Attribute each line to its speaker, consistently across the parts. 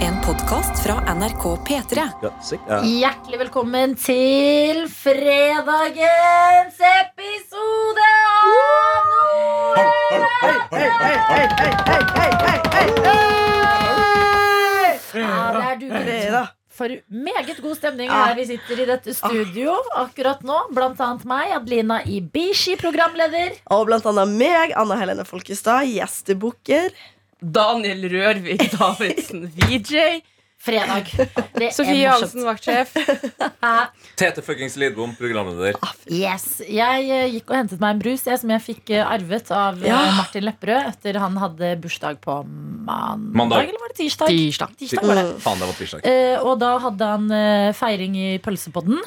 Speaker 1: En podkast fra NRK P3.
Speaker 2: Ja, sikkert. Ja.
Speaker 3: Hjertelig velkommen til fredagens episode av Nordland! For meget god stemning her vi sitter i dette studio akkurat nå. Blant annet meg, Adelina Ibishi, programleder.
Speaker 4: Og blant annet meg, Anna Helene Folkestad, gjestebukker.
Speaker 5: Daniel Rørvik Davidsen, VJ.
Speaker 3: Fredag. Det er
Speaker 5: Sofie
Speaker 3: morsomt. Eh,
Speaker 5: Hansen, vaktsjef.
Speaker 2: Tete fuckings Lidbom, programleder.
Speaker 3: Yes, Jeg eh, gikk og hentet meg en brus jeg, som jeg fikk eh, arvet av eh,
Speaker 4: Ja.
Speaker 3: Martin Lepperød etter han hadde bursdag på mandag.
Speaker 2: Mandag.
Speaker 3: Eller var det tirsdag?
Speaker 5: Tirsdag.
Speaker 3: Tirsdag var det.
Speaker 2: Faen, det var tirsdag.
Speaker 3: Eh, og da hadde han eh, feiring i Pølsepodden.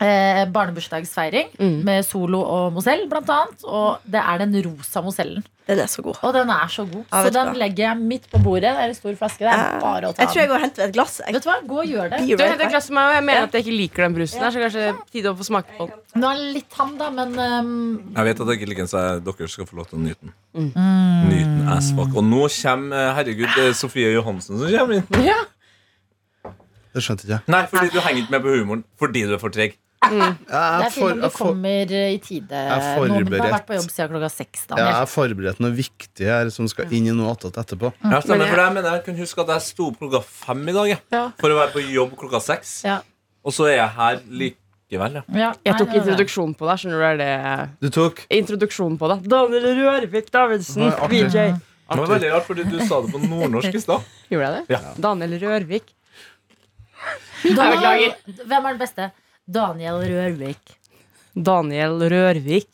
Speaker 3: Eh, barnebursdagsfeiring
Speaker 5: Mm.
Speaker 3: med Solo og Mozell, blant annet. Og det er den rosa Mozellen.
Speaker 4: Den er så god.
Speaker 3: Og den er så god.
Speaker 4: Ja,
Speaker 3: så
Speaker 4: vet du
Speaker 3: den
Speaker 4: hva.
Speaker 3: legger jeg midt på bordet. Det er en stor flaske. Det er bare å ta
Speaker 4: Jeg tror jeg
Speaker 3: den.
Speaker 4: går og henter et glass. Jeg
Speaker 3: Vet du hva, Gå og gjør det.
Speaker 4: Be
Speaker 5: Du
Speaker 4: right
Speaker 5: henter et
Speaker 4: back.
Speaker 5: glass til meg, og jeg mener at jeg ikke liker den brusen her, så kanskje det er tide å få smake på den.
Speaker 3: Nå er det litt ham, da, men ehm,
Speaker 2: Jeg vet at det ikke ligger en seg dere skal få lov til å nyte den. Nyte den ass fuck. Og nå kommer eh, herregud det er Sofie Johansen som kommer inn.
Speaker 6: Det skjønte ikke jeg.
Speaker 2: Nei, fordi du henger ikke med på humoren. Fordi du er for treg.
Speaker 3: det
Speaker 6: Jeg
Speaker 3: er
Speaker 6: er,
Speaker 3: fint om
Speaker 6: for, jeg,
Speaker 3: du
Speaker 6: for,
Speaker 3: kommer eh, i tide.
Speaker 6: er
Speaker 3: Nå, men du har
Speaker 6: forberedt.
Speaker 3: vært på jobb siden klokka seks.
Speaker 6: ja, jeg
Speaker 3: Daniel.
Speaker 6: har forberedt noe viktig her som skal inn i noe attåt etterpå.
Speaker 2: Ja, stemmer,
Speaker 5: Men jeg-
Speaker 2: for det jeg mener jeg kunne huske at jeg sto opp klokka fem i dag jeg,
Speaker 5: Ja.
Speaker 2: for å være på jobb klokka seks.
Speaker 3: Ja.
Speaker 2: Og så er jeg her likevel, ja.
Speaker 3: Ja,
Speaker 5: Jeg
Speaker 3: nei,
Speaker 5: tok
Speaker 3: det var det.
Speaker 5: introduksjonen på deg. Skjønner du det er det?
Speaker 6: Du tok
Speaker 5: Introduksjonen på deg. Daniel Rørvik Davidsen,
Speaker 6: Nei, artig.
Speaker 5: VJ.
Speaker 2: Det var veldig rart, fordi du sa det på nordnorsk i stad.
Speaker 5: Gjorde jeg det?
Speaker 2: Ja.
Speaker 5: Daniel Rørvik.
Speaker 3: Daniel, hvem er den beste? Daniel Rørvik.
Speaker 5: Daniel Rørvik.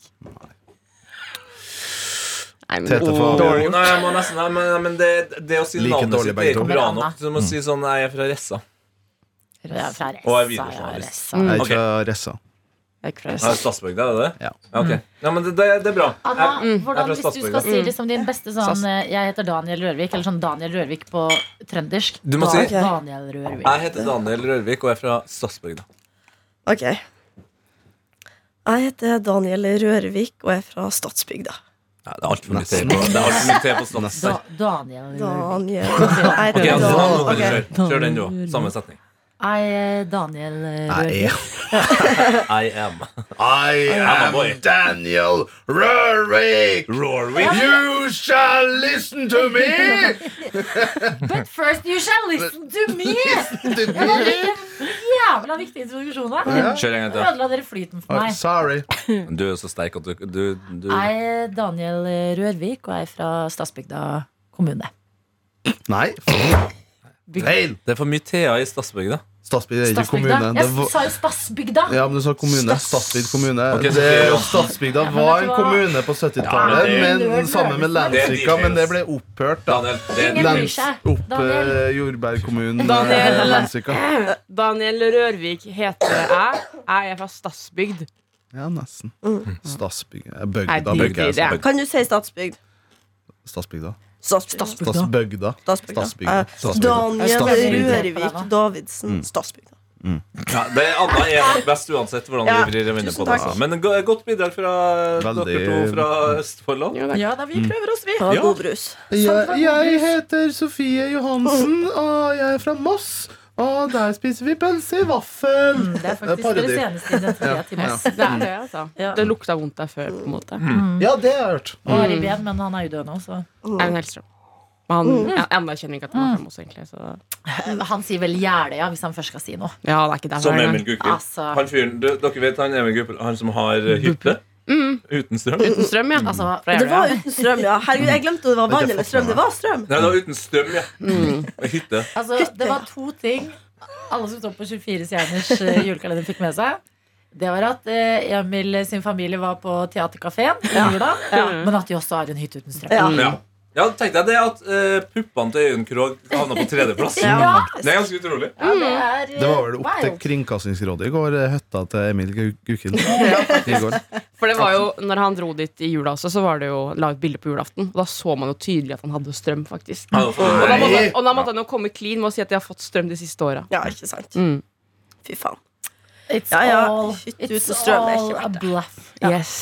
Speaker 5: Nei, men
Speaker 6: Tete får-
Speaker 5: dårlig.
Speaker 2: Nei, jeg må nesten, nei, men, men det, det å si
Speaker 6: Like
Speaker 2: navnet
Speaker 6: dårlig
Speaker 2: sitt er
Speaker 6: begge
Speaker 2: ikke
Speaker 3: to.
Speaker 2: bra nok. Du må si sånn Nei, jeg er fra Ressa.
Speaker 3: Ja, fra Ressa,
Speaker 2: Og er
Speaker 3: ja,
Speaker 2: viderejournalist.
Speaker 3: Ressa.
Speaker 6: Jeg er
Speaker 2: Ok.
Speaker 6: ikke fra Ressa.
Speaker 5: Jeg er ikke fra
Speaker 2: Ja,
Speaker 5: Rissa.
Speaker 2: Statsbygda, er det det?
Speaker 6: Ja.
Speaker 2: ok. Ja, men det, det, det er bra.
Speaker 3: Anna,
Speaker 6: Mm.
Speaker 2: Jeg- jeg
Speaker 3: hvordan
Speaker 2: er
Speaker 3: hvis
Speaker 2: fra
Speaker 3: du skal
Speaker 2: Statsborger.
Speaker 3: si liksom din beste sånn
Speaker 5: Sass.
Speaker 3: eh, Jeg heter Daniel Rørvik, eller sånn Daniel Rørvik på trøndersk.
Speaker 2: Du må
Speaker 3: Dan-
Speaker 2: si-
Speaker 3: Daniel Rørvik.
Speaker 2: Jeg heter Daniel Rørvik og er fra Stadsbygda.
Speaker 4: Ok. Jeg heter Daniel Rørvik og er fra Stadsbygda.
Speaker 2: Ja, det er altfor mye
Speaker 6: Nesten.
Speaker 2: til på, det er alt for mye til på Stads.
Speaker 3: Da, Daniel Rørvik.
Speaker 4: Daniel Jeg
Speaker 2: Ok,
Speaker 4: heter
Speaker 2: altså, nå
Speaker 4: Dan-
Speaker 2: må du
Speaker 4: ok.
Speaker 2: kjøre. Kjør den, du òg. Samme setning.
Speaker 3: I, eh, Daniel Rørvik.
Speaker 6: Jeg
Speaker 2: I am am a boy.
Speaker 6: am Daniel Rørvik!
Speaker 2: Rørvik.
Speaker 6: You shall listen to me!
Speaker 3: But first you shall listen to me! Ja, det er en Jævla viktig introduksjon her.
Speaker 6: Ja.
Speaker 2: Kjør en gang
Speaker 3: Nå ødela dere flyten for
Speaker 6: Oh,
Speaker 3: meg.
Speaker 6: sorry.
Speaker 2: til. Du er jo så sterk at du, du, du
Speaker 3: Jeg er Daniel Rørvik, og jeg er fra Stadsbygda kommune.
Speaker 6: Nei. Feil!
Speaker 2: Det er for mye T-er i Stadsbygda.
Speaker 6: Stadsbygd er ikke
Speaker 3: Stadsbygda.
Speaker 6: kommune. Det
Speaker 3: Jeg
Speaker 6: var
Speaker 3: sa jo Stadsbygda!
Speaker 6: ja, men du sa kommune. Stadsbygd kommune.
Speaker 2: Ok, så-
Speaker 6: Det- Stadsbygda var en
Speaker 3: hva?
Speaker 6: kommune på
Speaker 2: Ja,
Speaker 6: 70-tallet,
Speaker 2: men
Speaker 3: det-
Speaker 6: men sammen med Landsvika. Men det ble opphørt, da.
Speaker 2: Daniel, det er
Speaker 3: Ingen
Speaker 2: en
Speaker 3: bryr
Speaker 6: Lands,
Speaker 3: seg.
Speaker 6: opp
Speaker 3: Daniel.
Speaker 6: eh, jordbærkommunen
Speaker 5: Daniel.
Speaker 6: eh, Landsvika.
Speaker 5: Daniel Rørvik heter jeg. Jeg er fra Stadsbygd.
Speaker 6: Ja, nesten. Stadsbygd eh, Bøgda.
Speaker 5: Nei,
Speaker 6: Bøgda.
Speaker 5: det- det er-
Speaker 4: Kan du si Stadsbygd?
Speaker 6: Stadsbygda.
Speaker 4: Stadsbygda.
Speaker 6: Stadsbygda.
Speaker 4: Stadsbygda.
Speaker 6: Stadsbygda.
Speaker 4: Eh,
Speaker 6: Stadsbygda.
Speaker 4: Daniel
Speaker 3: Stadsbygda.
Speaker 4: Rørvik
Speaker 2: Mm.
Speaker 4: Davidsen. Stadsbygda.
Speaker 2: ja, det er Anna er nok best uansett hvordan
Speaker 4: Ja,
Speaker 2: vi vrir og vender på det.
Speaker 4: tusen takk.
Speaker 2: altså. Men go- godt bidrag fra dere
Speaker 6: Veldig.
Speaker 2: to fra Østfoldland.
Speaker 3: Ja, da,
Speaker 6: Mm.
Speaker 3: vi prøver oss, vi.
Speaker 4: Det var
Speaker 2: Ja.
Speaker 4: god brus.
Speaker 6: Jeg, jeg heter Sofie Johansen, og jeg er fra Moss. Og der spiser vi pølse i vaffel.
Speaker 3: Det er
Speaker 6: Eh,
Speaker 3: faktisk
Speaker 6: parodi.
Speaker 3: deres eneste identitet i Moss.
Speaker 5: Det er det, altså.
Speaker 3: Ja.
Speaker 5: Det lukta vondt der før, på en måte.
Speaker 6: Ja, det har jeg hørt.
Speaker 3: Og Ari Behn, men han er jo død nå, så
Speaker 5: Eivind Hellstrøm. Men han jeg anerkjenner ikke at han er
Speaker 3: Mm.
Speaker 5: fra Moss, egentlig. Så.
Speaker 3: Han sier vel Jeløya hvis han først skal si noe.
Speaker 5: Ja, det er ikke derfor.
Speaker 2: Som
Speaker 5: jeg er
Speaker 2: Emil
Speaker 5: der.
Speaker 2: Gukild.
Speaker 3: Altså,
Speaker 2: Han fyren, du- dere vet han Emil Gukild, han som har eh, hytte? Uten strøm?
Speaker 5: Uten strøm, ja.
Speaker 3: altså
Speaker 5: Mm. Fra
Speaker 4: Det var
Speaker 5: Jeløya.
Speaker 4: uten strøm, ja. Herregud, jeg glemte det var vann eller strøm. Det var strøm.
Speaker 2: Nei, det var uten strøm, ja. Hytte.
Speaker 3: Altså, det var to ting alle som står på 24 stjerners eh, julekalender, fikk med seg. Det var at eh, Emil sin familie var på teaterkafeen i jula, men at de også har en hytte uten strøm.
Speaker 4: Ja.
Speaker 2: Ja. ja, tenkte jeg det at eh, puppene til Øyunn Krogh havna på tredjeplass.
Speaker 4: Ja,
Speaker 2: Det er ganske utrolig.
Speaker 3: Ja, det, er, eh,
Speaker 6: Det var vel opp til
Speaker 3: wow.
Speaker 6: Kringkastingsrådet i går, eh, høtta til Emil Gu- Gukild. I går.
Speaker 5: For det var jo, når han dro dit i jula også, så var det jo la ut bilde på julaften. Og da så man jo tydelig at han hadde strøm, faktisk.
Speaker 2: Ja, det var-
Speaker 5: Og da måtte,
Speaker 6: Nei.
Speaker 5: og da måtte han jo komme clean med å si at de har fått strøm de siste åra.
Speaker 4: Ja, ikke sant?
Speaker 5: Mm.
Speaker 4: Fy faen.
Speaker 3: It's
Speaker 4: Ja, ja.
Speaker 3: all,
Speaker 4: Hytte
Speaker 3: it's
Speaker 4: uten strøm, det er
Speaker 3: all
Speaker 4: ikke
Speaker 3: a
Speaker 4: verdt
Speaker 3: bluff.
Speaker 5: Yes.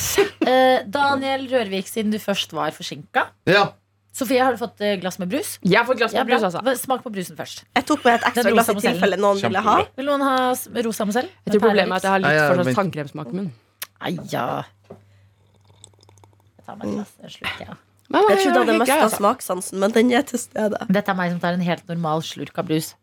Speaker 3: Eh, Daniel Rørvik, siden du først var forsinka,
Speaker 6: Ja.
Speaker 3: Sofie, har du fått eh, glass med brus?
Speaker 5: Jeg har fått glass
Speaker 3: Ja,
Speaker 5: med brus,
Speaker 3: bra.
Speaker 5: altså.
Speaker 3: Hva- Smak på brusen først.
Speaker 4: Jeg tok med et
Speaker 3: Den
Speaker 4: ekstra glass i
Speaker 3: rosa modellen.
Speaker 4: tilfelle noen ville ha.
Speaker 2: Kjempebra.
Speaker 3: Vil noen ha s- rosa mozell?
Speaker 5: Jeg tror problemet er at jeg har
Speaker 6: Nei,
Speaker 5: litt
Speaker 6: jeg
Speaker 5: for slags
Speaker 6: vent-
Speaker 5: tankremsmak i munnen.
Speaker 3: Aja. Jeg tar meg et glass. en slurk, ja.
Speaker 5: Men,
Speaker 4: Jeg
Speaker 5: men,
Speaker 4: trodde jeg hadde
Speaker 5: helt grei,
Speaker 4: mista
Speaker 5: altså.
Speaker 4: smakssansen, men den er til stede.
Speaker 3: Dette er meg som tar en helt normal slurk av brus.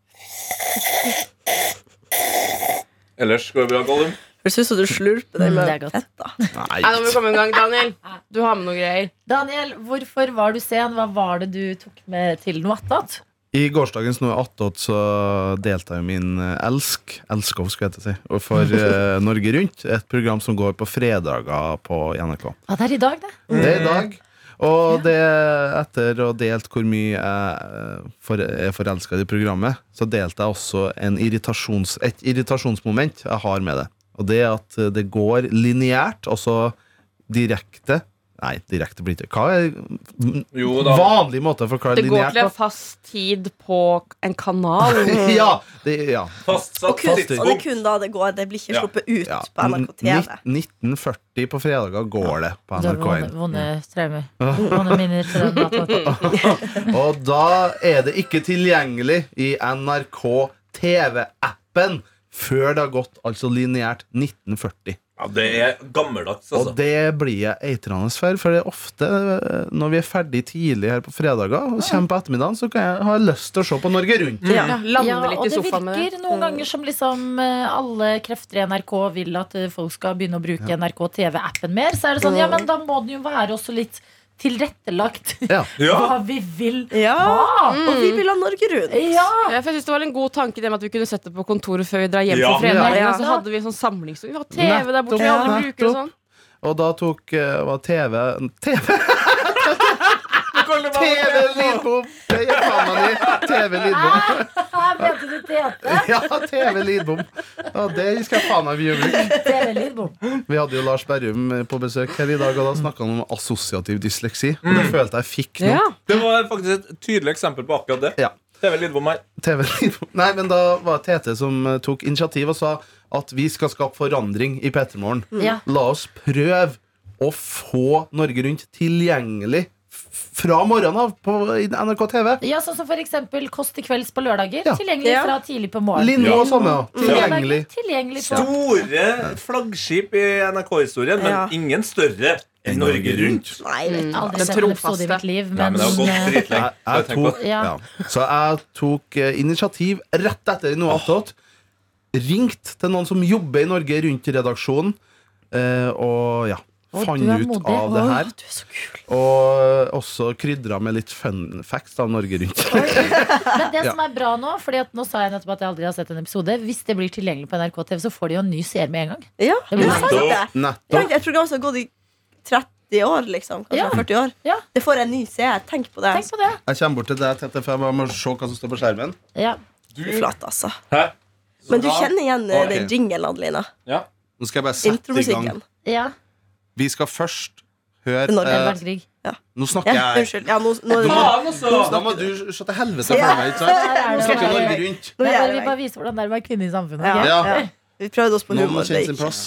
Speaker 2: Ellers går det bra, Gollum.
Speaker 4: Høres ut som du slurper den
Speaker 3: Mm, det er
Speaker 4: med
Speaker 3: godt.
Speaker 4: fetta.
Speaker 5: Nei, nå må vi komme i gang, Daniel. Du har med noen greier.
Speaker 3: Daniel, hvorfor var du sen? Hva var det du tok med til noe attåt?
Speaker 6: I gårsdagens Noe attåt så deltar jo min eh, elsk, elskov skulle jeg til å si, og for eh, Norge Rundt. Et program som går på fredager på NRK.
Speaker 3: Ja, det er i dag, det.
Speaker 6: Det er i dag. Og det etter å ha delt hvor mye jeg eh, for, er forelska i programmet, så delte jeg også en irritasjons, et irritasjonsmoment jeg har med det. Og det er at eh, det går lineært, altså direkte Nei, direkte blir det ikke Hva er
Speaker 2: Jo da.
Speaker 6: vanlig måte å forklare
Speaker 5: Det går
Speaker 6: lineært
Speaker 5: til en
Speaker 6: på? Mm.
Speaker 5: fast tid på en kanal.
Speaker 6: ja, det, ja.
Speaker 2: Fastsatt
Speaker 4: kun, og det er
Speaker 2: tidspunkt.
Speaker 4: kun da det går. Det blir ikke
Speaker 2: Ja.
Speaker 4: sluppet ut
Speaker 6: ja.
Speaker 4: på NRK TV.
Speaker 6: Nitt- 1940 på fredager går det på
Speaker 3: Du har vonde,
Speaker 6: NRK1.
Speaker 3: vonde traumer. Vonde minner fra den attåt.
Speaker 6: Og da er det ikke tilgjengelig i NRK TV-appen før det har gått altså lineært 1940.
Speaker 2: Ja, det er gammeldags,
Speaker 6: Og
Speaker 2: altså.
Speaker 6: det blir jeg eitrende for, for det er ofte eh, når vi er ferdig tidlig her på fredager, og kommer på ettermiddagen, så kan jeg ha lyst til å se på Norge Rundt.
Speaker 5: Ja, Lande
Speaker 3: Ja, og
Speaker 5: litt
Speaker 3: det
Speaker 5: i sofaen med det.
Speaker 3: virker noen ganger som liksom eh, alle krefter i NRK vil at eh, folk skal begynne å bruke NRK TV-appen mer. Så er det sånn, ja, men da må den jo være også litt tilrettelagt.
Speaker 6: Ja.
Speaker 2: Ja,
Speaker 3: Hva vi vil.
Speaker 4: Ja, Og vi vil ha Norge Rundt.
Speaker 3: Mm. Ja!
Speaker 5: Ja, for jeg synes Det var en god tanke det med at vi kunne sette det på kontoret før vi drar hjem.
Speaker 2: Ja.
Speaker 5: på fredag,
Speaker 4: Ja.
Speaker 5: og Så hadde vi en sånn samlingsstund. Vi har TV der borte.
Speaker 6: Nettopp,
Speaker 5: vi alle
Speaker 6: ja.
Speaker 5: bruker og sånn.
Speaker 6: Og da tok eh, var TV TV! TV-lydbom! Det gir faen meg i. TV-lydbom.
Speaker 3: Her mente du Tete.
Speaker 6: Ja, TV-lydbom. Ja, det skal jeg faen meg bli
Speaker 3: TV-lydbom.
Speaker 6: Vi hadde jo Lars Berrum på besøk her i dag, og da snakka han om assosiativ dysleksi. Og det følte jeg fikk nå.
Speaker 5: Ja.
Speaker 2: det var faktisk et tydelig eksempel på akkurat det.
Speaker 6: Ja.
Speaker 2: TV Lidbom her.
Speaker 6: TV Nei, men da var det Tete som eh, tok initiativ og sa at vi skal skape forandring i P3 Morgen.
Speaker 3: Ja.
Speaker 6: La oss prøve å få Norge Rundt tilgjengelig f- fra morgenen av på i NRK TV.
Speaker 3: Ja, sånn som for eksempel Kåss til kvelds på lørdager.
Speaker 6: Ja.
Speaker 3: Tilgjengelig
Speaker 4: Ja.
Speaker 3: fra tidlig på morgenen.
Speaker 6: Lindmo og sånne. ja.
Speaker 3: Mm.
Speaker 6: Tilgjengelig.
Speaker 3: Lørdager, Tilgjengelig på
Speaker 2: Store flaggskip i NRK-historien, men
Speaker 4: Ja.
Speaker 2: ingen større enn Norge Rundt.
Speaker 4: Nei, vet du.
Speaker 3: Aldri
Speaker 5: Den
Speaker 3: sett en episode i
Speaker 5: trofaste.
Speaker 3: mitt liv,
Speaker 2: Nei,
Speaker 3: men,
Speaker 2: men det har gått
Speaker 3: eh,
Speaker 2: dritlenge. Bare
Speaker 6: Jeg, jeg
Speaker 2: tenk på
Speaker 6: tok,
Speaker 2: det.
Speaker 3: Ja.
Speaker 6: ja. Så jeg tok eh, initiativ rett etter noe attåt. Ringt til noen som jobber i Norge rundt redaksjonen, eh, og ja.
Speaker 3: Å,
Speaker 6: Fant
Speaker 3: du er
Speaker 6: ut
Speaker 3: modig.
Speaker 6: av det her.
Speaker 4: Å, du er så kul.
Speaker 6: Og også krydra med litt fun facts av Norge Rundt.
Speaker 3: men eh, det
Speaker 6: Ja.
Speaker 3: som er bra nå, Fordi at nå sa jeg nettopp at jeg aldri har sett en episode. Hvis det blir tilgjengelig på NRK TV, så får de jo en ny seer med en gang.
Speaker 4: Ja,
Speaker 3: Det
Speaker 4: det
Speaker 3: blir
Speaker 4: er sant
Speaker 2: sant.
Speaker 4: det.
Speaker 6: Nettopp.
Speaker 4: Tenk, et program som har gått i 30 år, liksom. Kanskje
Speaker 3: Ja.
Speaker 4: 40 år.
Speaker 3: Ja.
Speaker 4: Det får en ny seer. Tenk på det.
Speaker 3: Tenk på det.
Speaker 6: Jeg kommer bort til deg, Tete, for jeg bare må se hva som står på skjermen.
Speaker 3: Ja.
Speaker 4: Du er Flat, altså.
Speaker 2: Hæ? Så
Speaker 4: Men du
Speaker 2: bra.
Speaker 4: kjenner igjen eh,
Speaker 6: Ok.
Speaker 4: den jinglen, Adelina.
Speaker 2: Ja.
Speaker 6: Nå skal jeg bare sette i gang.
Speaker 4: Intromusikken.
Speaker 3: ja.
Speaker 6: Vi skal først
Speaker 4: Det er
Speaker 6: høre
Speaker 4: Norge.
Speaker 6: eh,
Speaker 3: Annen verdenskrig.
Speaker 6: Nå snakker
Speaker 4: Ja,
Speaker 6: jeg.
Speaker 4: unnskyld. Ja, nå, nå, nå,
Speaker 2: Faen, altså!
Speaker 6: Da må du se til helvete for meg, ikke sant?
Speaker 3: Her er
Speaker 6: Vi
Speaker 3: det
Speaker 6: snakker
Speaker 3: bare-
Speaker 6: Norge Rundt.
Speaker 4: nå
Speaker 3: Nei,
Speaker 4: gjør
Speaker 3: bare,
Speaker 4: jeg
Speaker 3: vi bare
Speaker 4: det.
Speaker 3: viser hvordan det er å være kvinne i samfunnet.
Speaker 4: Ja,
Speaker 3: ok?
Speaker 4: ja.
Speaker 6: Ja.
Speaker 4: Vi prøvde oss på
Speaker 6: Noen
Speaker 4: humor.
Speaker 6: må
Speaker 4: det
Speaker 6: kjenne sin
Speaker 4: gikk
Speaker 6: plass.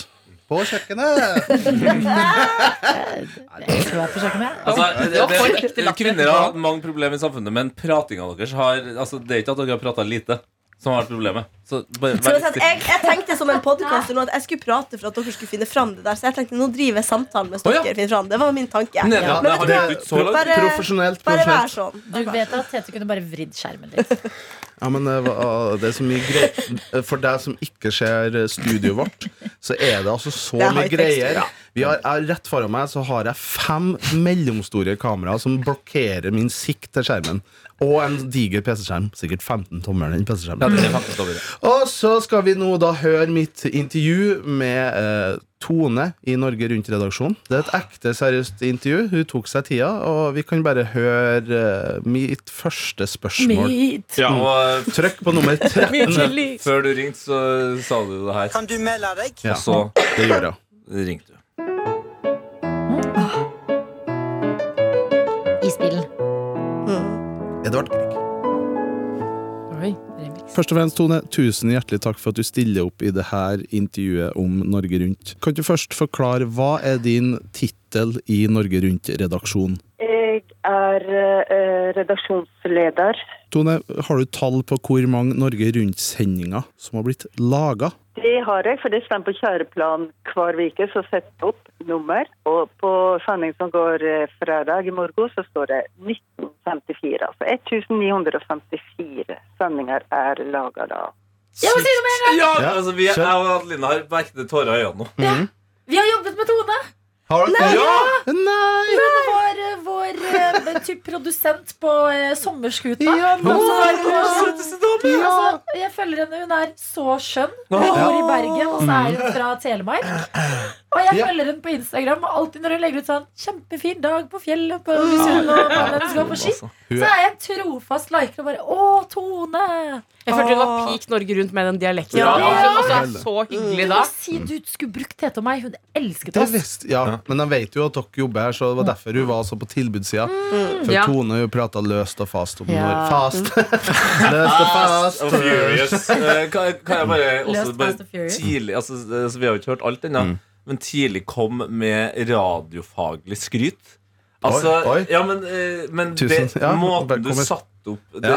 Speaker 6: På kjøkkenet!
Speaker 3: Jeg tror jeg forsøker meg.
Speaker 2: Altså,
Speaker 5: Det var for
Speaker 2: det,
Speaker 5: ekte
Speaker 2: det,
Speaker 5: latter.
Speaker 2: kvinner har hatt mange problemer i samfunnet, men pratinga deres har altså, Det er ikke at dere har prata lite som har vært problemet. Så bare vær
Speaker 4: Skal sånn, jeg, si at
Speaker 2: stille.
Speaker 4: jeg, jeg tenkte som en podcaster nå at jeg skulle prate for at dere skulle finne fram det der. Så jeg tenkte nå driver jeg samtalen mens
Speaker 2: Å, ja.
Speaker 4: dere finner fram. Det var min tanke.
Speaker 2: Nei, nei,
Speaker 4: Men
Speaker 2: nei,
Speaker 4: vet du
Speaker 2: det
Speaker 4: hva?
Speaker 2: er ikke så langt.
Speaker 4: Bare-
Speaker 6: Profesjonelt.
Speaker 4: Bare vær sånn.
Speaker 6: profesjonelt.
Speaker 3: Du vet at Tete kunne bare vridd skjermen litt.
Speaker 6: Ja, men eh, hva- det er så mye greier For deg som ikke ser eh, studioet vårt, så er det altså så
Speaker 4: Det er
Speaker 6: mye
Speaker 4: high-tech
Speaker 6: greier.
Speaker 4: studio.
Speaker 6: Vi har, jeg- rett foran meg så har jeg fem mellomstore kameraer som blokkerer min sikt til skjermen. Og en diger PC-skjerm. Sikkert 15 tommer
Speaker 2: Ja,
Speaker 6: den PC-skjermen.
Speaker 2: det er faktisk over.
Speaker 6: Og så skal vi nå da høre mitt intervju med eh, Tone i Norge Rundt-redaksjonen. Det er et ekte seriøst intervju. Hun tok seg tida, og vi kan bare høre eh, mitt første spørsmål.
Speaker 3: Meat.
Speaker 2: Ja, og
Speaker 6: Trykk på nummer 13.
Speaker 2: eh, før du ringte, så sa du det her.
Speaker 7: Kan du melde deg?
Speaker 6: Ja.
Speaker 2: Og så
Speaker 6: Det gjør jeg.
Speaker 2: ringte du.
Speaker 3: Isbilen.
Speaker 6: Edvard Grieg.
Speaker 5: Oi, remix.
Speaker 6: Først og fremst, Tone, tusen hjertelig takk for at du stiller opp i det her intervjuet om Norge Rundt. Kan du først forklare, hva er din tittel i Norge Rundt-redaksjon?
Speaker 8: Jeg
Speaker 7: er eh, redaksjonsleder.
Speaker 6: Tone, har du tall på hvor mange Norge Rundt-sendinger som har blitt laga?
Speaker 7: Det har jeg, for det står på kjøreplan hver uke, så sett opp nummer. Og på sending som går eh, fredag i morgen, så står det 1954. Altså 1954 sendinger er laga da.
Speaker 2: Ja,
Speaker 6: Ja,
Speaker 2: altså, vi, jeg
Speaker 6: skjønn.
Speaker 2: og Adelina har på ekte tårer i øynene nå.
Speaker 3: Vi har jobbet med Tone!
Speaker 6: Har dere-
Speaker 2: Ja!
Speaker 6: Nei!
Speaker 3: Hun var eh, vår eh, typ produsent på eh, Sommerskuta.
Speaker 6: Ja,
Speaker 3: Hun var på-
Speaker 2: Søteste dame!
Speaker 3: Altså, jeg følger henne. Hun er så skjønn. Hun
Speaker 2: Ja.
Speaker 3: bor i Bergen, og så er hun fra Telemark. Og jeg
Speaker 6: Ja.
Speaker 3: følger henne på Instagram, og alltid når hun legger ut sånn 'Kjempefin dag på fjellet på Hysund', og når hun skal på ski, så er jeg en trofast liker og bare 'Å, Tone'.
Speaker 5: Jeg følte hun var peak Norge rundt med den dialekten.
Speaker 2: Ja.
Speaker 5: Hun også er så hyggelig
Speaker 3: Du
Speaker 5: da.
Speaker 3: må si du skulle brukt Tete og meg. Hun elsket
Speaker 6: Det
Speaker 3: oss.
Speaker 6: visste Ja, men jeg vet jo at dere jobber her, så det var derfor hun var så på tilbudssida. For
Speaker 5: Ja.
Speaker 6: Tone jo prata løst og fast om
Speaker 3: Ja.
Speaker 6: Norge. Fast! løst og fast.
Speaker 2: Og Furious. Eh, Kan, kan jeg bare også
Speaker 3: Fast and
Speaker 2: bare
Speaker 3: Furious.
Speaker 2: tidlig altså, eh, så Vi har jo ikke hørt alt ennå,
Speaker 6: Mm.
Speaker 2: men tidlig kom med radiofaglig skryt. Altså,
Speaker 6: Oi, oi.
Speaker 2: Ja, men, eh, men
Speaker 6: Tusen,
Speaker 2: det,
Speaker 6: ja,
Speaker 2: måten du
Speaker 6: velkommen.
Speaker 2: satte opp det,
Speaker 6: Ja.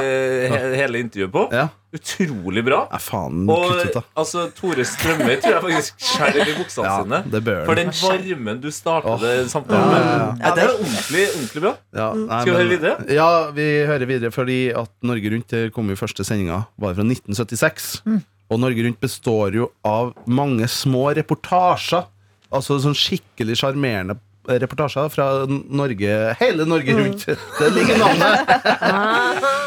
Speaker 2: he- hele intervjuet på,
Speaker 6: Ja.
Speaker 2: utrolig bra.
Speaker 6: ja, faen.
Speaker 2: Og
Speaker 6: Kutt ut, da.
Speaker 2: altså, Tore Strømøy tror jeg faktisk skjærer i buksene
Speaker 6: Ja,
Speaker 2: sine.
Speaker 6: det bør
Speaker 2: For
Speaker 6: han.
Speaker 2: den varmen du startet
Speaker 6: Åh.
Speaker 2: det samtalen med, ja, det er ordentlig, ordentlig bra.
Speaker 6: Ja, nei,
Speaker 2: Skal vi
Speaker 6: men-
Speaker 2: høre videre?
Speaker 6: Ja, vi hører videre, fordi at Norge Rundt det kom jo første sendinga var fra 1976. Og Norge Rundt består jo av mange små reportasjer. Altså sånn skikkelig sjarmerende reportasjer fra Norge Hele Norge Rundt. Det ligger i navnet!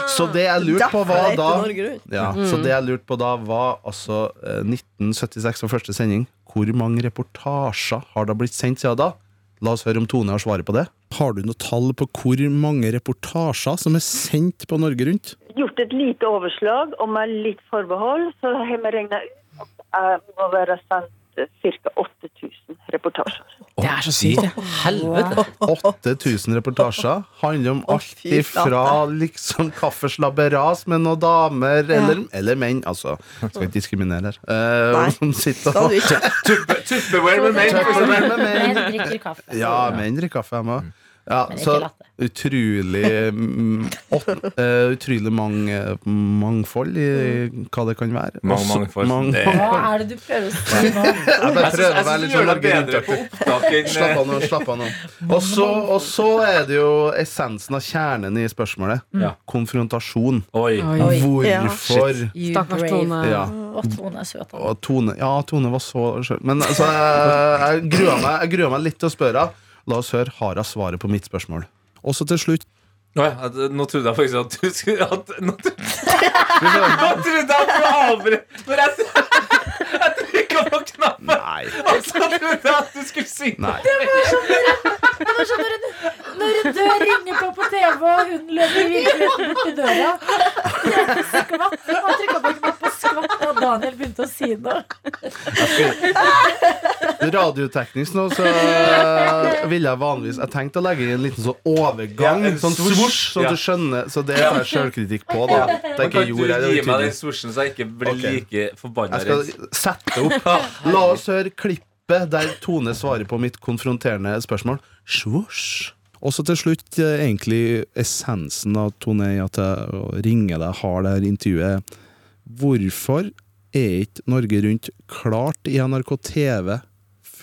Speaker 6: Så det jeg lurte
Speaker 4: Derfor
Speaker 6: på, var
Speaker 4: heter
Speaker 6: da
Speaker 4: Norge Rundt.
Speaker 6: ja, Så det jeg lurte på da, var altså eh, 1976 var første sending. Hvor mange reportasjer har da blitt sendt siden da? La oss høre om Tone har svaret på det. Har du noe tall på hvor mange reportasjer som er sendt på Norge Rundt?
Speaker 7: Gjort et lite overslag, og med litt forbehold, så har vi regna ut at det må være sendt ca. 8000 reportasjer.
Speaker 5: Det er så sykt. ja.
Speaker 2: Helvete.
Speaker 6: 8000 reportasjer handler om alt
Speaker 4: fy
Speaker 6: ifra liksom kaffeslabberas med noen damer, eller, eller menn, altså. Skal ikke diskriminere her. Eh,
Speaker 4: Nei,
Speaker 6: som sitter
Speaker 4: Skal
Speaker 6: og
Speaker 4: du ikke?
Speaker 2: Tupperware med meg.
Speaker 6: Tupperware med menn.
Speaker 3: Men drikker kaffe.
Speaker 6: Ja, menn drikker kaffe hjemme. også. Ja,
Speaker 3: Men ikke
Speaker 6: så
Speaker 3: latte.
Speaker 6: utrolig mm, åt- eh, Utrolig mang, eh, mangfold i hva det kan være.
Speaker 2: Mang-
Speaker 6: Også-
Speaker 2: mangfold.
Speaker 6: mang-
Speaker 2: Det-
Speaker 3: Hva er det du prøver å si nå?
Speaker 6: Jeg bare
Speaker 2: Jeg
Speaker 6: prøver å
Speaker 2: syns
Speaker 6: være
Speaker 2: du
Speaker 6: litt sånn
Speaker 2: gjør deg
Speaker 6: Norge
Speaker 2: bedre på eh. opptak
Speaker 6: Rundt-aktig. Slapp
Speaker 2: enn
Speaker 6: av nå. slapp av nå og så, og så er det jo essensen av kjernen i spørsmålet.
Speaker 2: Ja.
Speaker 6: Konfrontasjon.
Speaker 2: Oi.
Speaker 5: Oi.
Speaker 4: Ja.
Speaker 6: Hvorfor?
Speaker 2: Mm.
Speaker 3: You
Speaker 5: Stakkars
Speaker 3: brave.
Speaker 5: Tone.
Speaker 6: Ja.
Speaker 3: Å, Tone er søt. da.
Speaker 6: Og Tone, ja, Tone var så skjønn. Men altså, jeg, jeg, gruer meg, jeg gruer meg litt til å spørre. La oss høre Hara svaret på mitt spørsmål. Også til slutt
Speaker 2: Nå, ja, at- eh, nå trodde jeg faktisk at du skulle at, nå, tro- nå trodde jeg at du avbrøt Når jeg, jeg trykka på knappen,
Speaker 6: Nei.
Speaker 2: og så trodde jeg at du skulle synge.
Speaker 6: Nei.
Speaker 3: Det var sånn når en, når en dør ringer på på TV, og hun løper virkelig bort til døra. Jeg skvatt. Han trykka på en knapp og skvatt da Daniel begynte å si noe.
Speaker 6: Radioteknisk nå, så eh, ville jeg vanligvis Jeg tenkte å legge inn en liten sånn overgang,
Speaker 2: Ja, en
Speaker 6: sånn
Speaker 2: swoosh,
Speaker 6: svosj, sånn
Speaker 2: ja.
Speaker 6: at du skjønner. Så det tar jeg sjølkritikk på, da. Det er
Speaker 2: Men
Speaker 6: ikke
Speaker 2: kan du
Speaker 6: gjorde jeg, det
Speaker 2: gi
Speaker 6: var
Speaker 2: meg den
Speaker 6: utydelig.
Speaker 2: sorsen, så jeg ikke blir
Speaker 6: Ok.
Speaker 2: like forbanna
Speaker 6: Jeg skal
Speaker 2: redd?
Speaker 6: sette opp. La oss høre klippet der Tone svarer på mitt konfronterende spørsmål. Svosj. Også til slutt eh, egentlig essensen av Tone i at jeg ringer deg, har det her intervjuet. Hvorfor er ikke Norge Rundt klart i NRK TV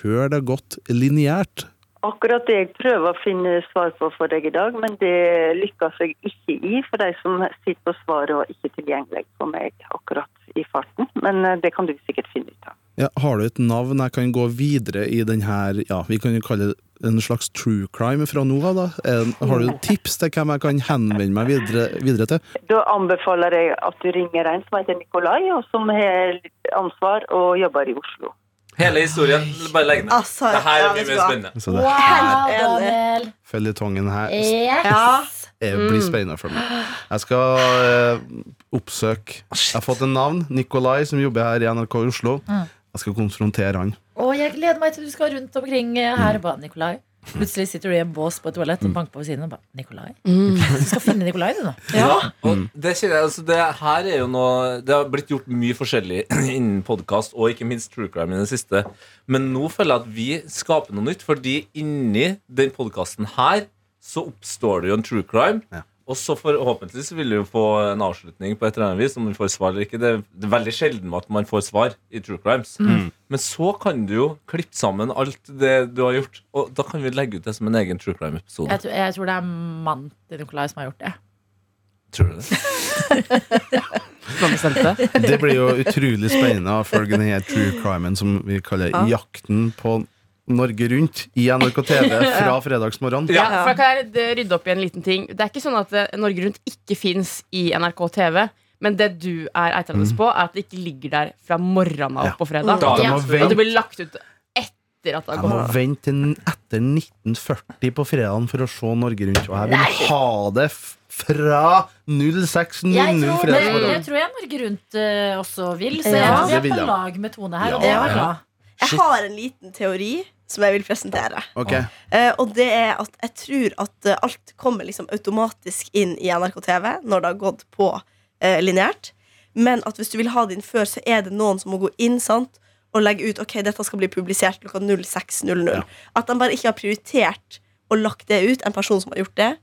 Speaker 6: før det har gått lineært?
Speaker 7: Akkurat det jeg prøver å finne svar på for deg i dag, men det lykkes jeg ikke i. For de som sitter på svaret og ikke tilgjengelig for meg akkurat i farten. Men eh, det kan du sikkert finne ut av.
Speaker 6: Ja, har du et navn jeg kan gå videre i den her Ja, vi kan jo kalle det en slags true crime fra nå av, da. En, har du tips til hvem jeg kan henvende meg videre, videre til?
Speaker 7: Da anbefaler jeg at du ringer en som heter Nikolai, og som har litt ansvar og jobber i Oslo.
Speaker 2: Hele historien, bare legg ned.
Speaker 4: Altså,
Speaker 2: Det her
Speaker 4: ja,
Speaker 2: blir
Speaker 4: vet du
Speaker 2: mer
Speaker 4: hva?
Speaker 2: spennende.
Speaker 6: Så det
Speaker 3: Wow, Daniel.
Speaker 6: føljetongen her
Speaker 5: Eh,
Speaker 3: Yes.
Speaker 4: Ja.
Speaker 6: er,
Speaker 5: mm.
Speaker 6: blir spennende for meg. Jeg skal eh, oppsøke Jeg har fått en navn. Nikolai, som jobber her i NRK i Oslo.
Speaker 5: Mm.
Speaker 6: Jeg skal konfrontere han.
Speaker 3: Og jeg gleder meg til du skal rundt omkring eh, her og bare Nikolai. Plutselig sitter du i en bås på et toalett og banker på siden og bare Nikolai? Du skal finne Nikolai, du, nå.
Speaker 2: Ja, og det kjenner jeg altså, Det her er jo noe Det har blitt gjort mye forskjellig innen podkast, og ikke minst True Crime i det siste. Men nå føler jeg at vi skaper noe nytt, fordi inni den podkasten her så oppstår det jo en true crime.
Speaker 6: Ja.
Speaker 2: Og så forhåpentligvis vil du jo få en avslutning på et eller annet vis. Om du får svar eller ikke Det er det er veldig sjelden at man får svar i true crimes. Men så kan du jo klippe sammen alt det du har gjort, og da kan vi legge ut det som en egen true crime-episode.
Speaker 3: Jeg, tror- jeg tror det er mannen til Nikolai som har gjort det.
Speaker 2: Tror du det?
Speaker 5: Hvem bestemte?
Speaker 6: Det blir jo utrolig spennende å følge denne her true crimen som vi kaller Jakten på Norge Rundt i NRK TV fra fredagsmorgen.
Speaker 5: Ja, for da kan jeg eh, rydde opp i en liten ting. Det er ikke sånn at eh, Norge Rundt ikke fins i NRK TV. Men det du er eitrende på, er at det ikke ligger der fra morgenen av
Speaker 6: Ja.
Speaker 5: på fredag.
Speaker 2: Da
Speaker 6: De må
Speaker 5: Og
Speaker 6: vente,
Speaker 5: det blir lagt ut etter at det har
Speaker 6: jeg må
Speaker 5: gått.
Speaker 6: vente til n- etter 1940 på fredagen for å se Norge Rundt. Og jeg vil ha det f- fra 06.00
Speaker 3: Jeg tror, men, jeg
Speaker 6: fredagsmorgen.
Speaker 3: tror jeg Norge Rundt eh, også vil, så jeg
Speaker 4: Ja.
Speaker 3: tror vi
Speaker 6: Det vil
Speaker 3: er på
Speaker 6: jeg.
Speaker 3: lag med Tone her. Og
Speaker 6: Ja.
Speaker 3: det var bra.
Speaker 4: Jeg har en liten teori som jeg vil presentere.
Speaker 6: Ok,
Speaker 4: Eh, og det er at jeg tror at eh, alt kommer liksom automatisk inn i NRK TV når det har gått på uh, lineært. Men at hvis du vil ha det inn før, så er det noen som må gå inn sant, og legge ut ok, dette skal bli publisert klokka 06.00.
Speaker 6: Ja.
Speaker 4: At de bare ikke har prioritert og lagt det ut. En person som har gjort det.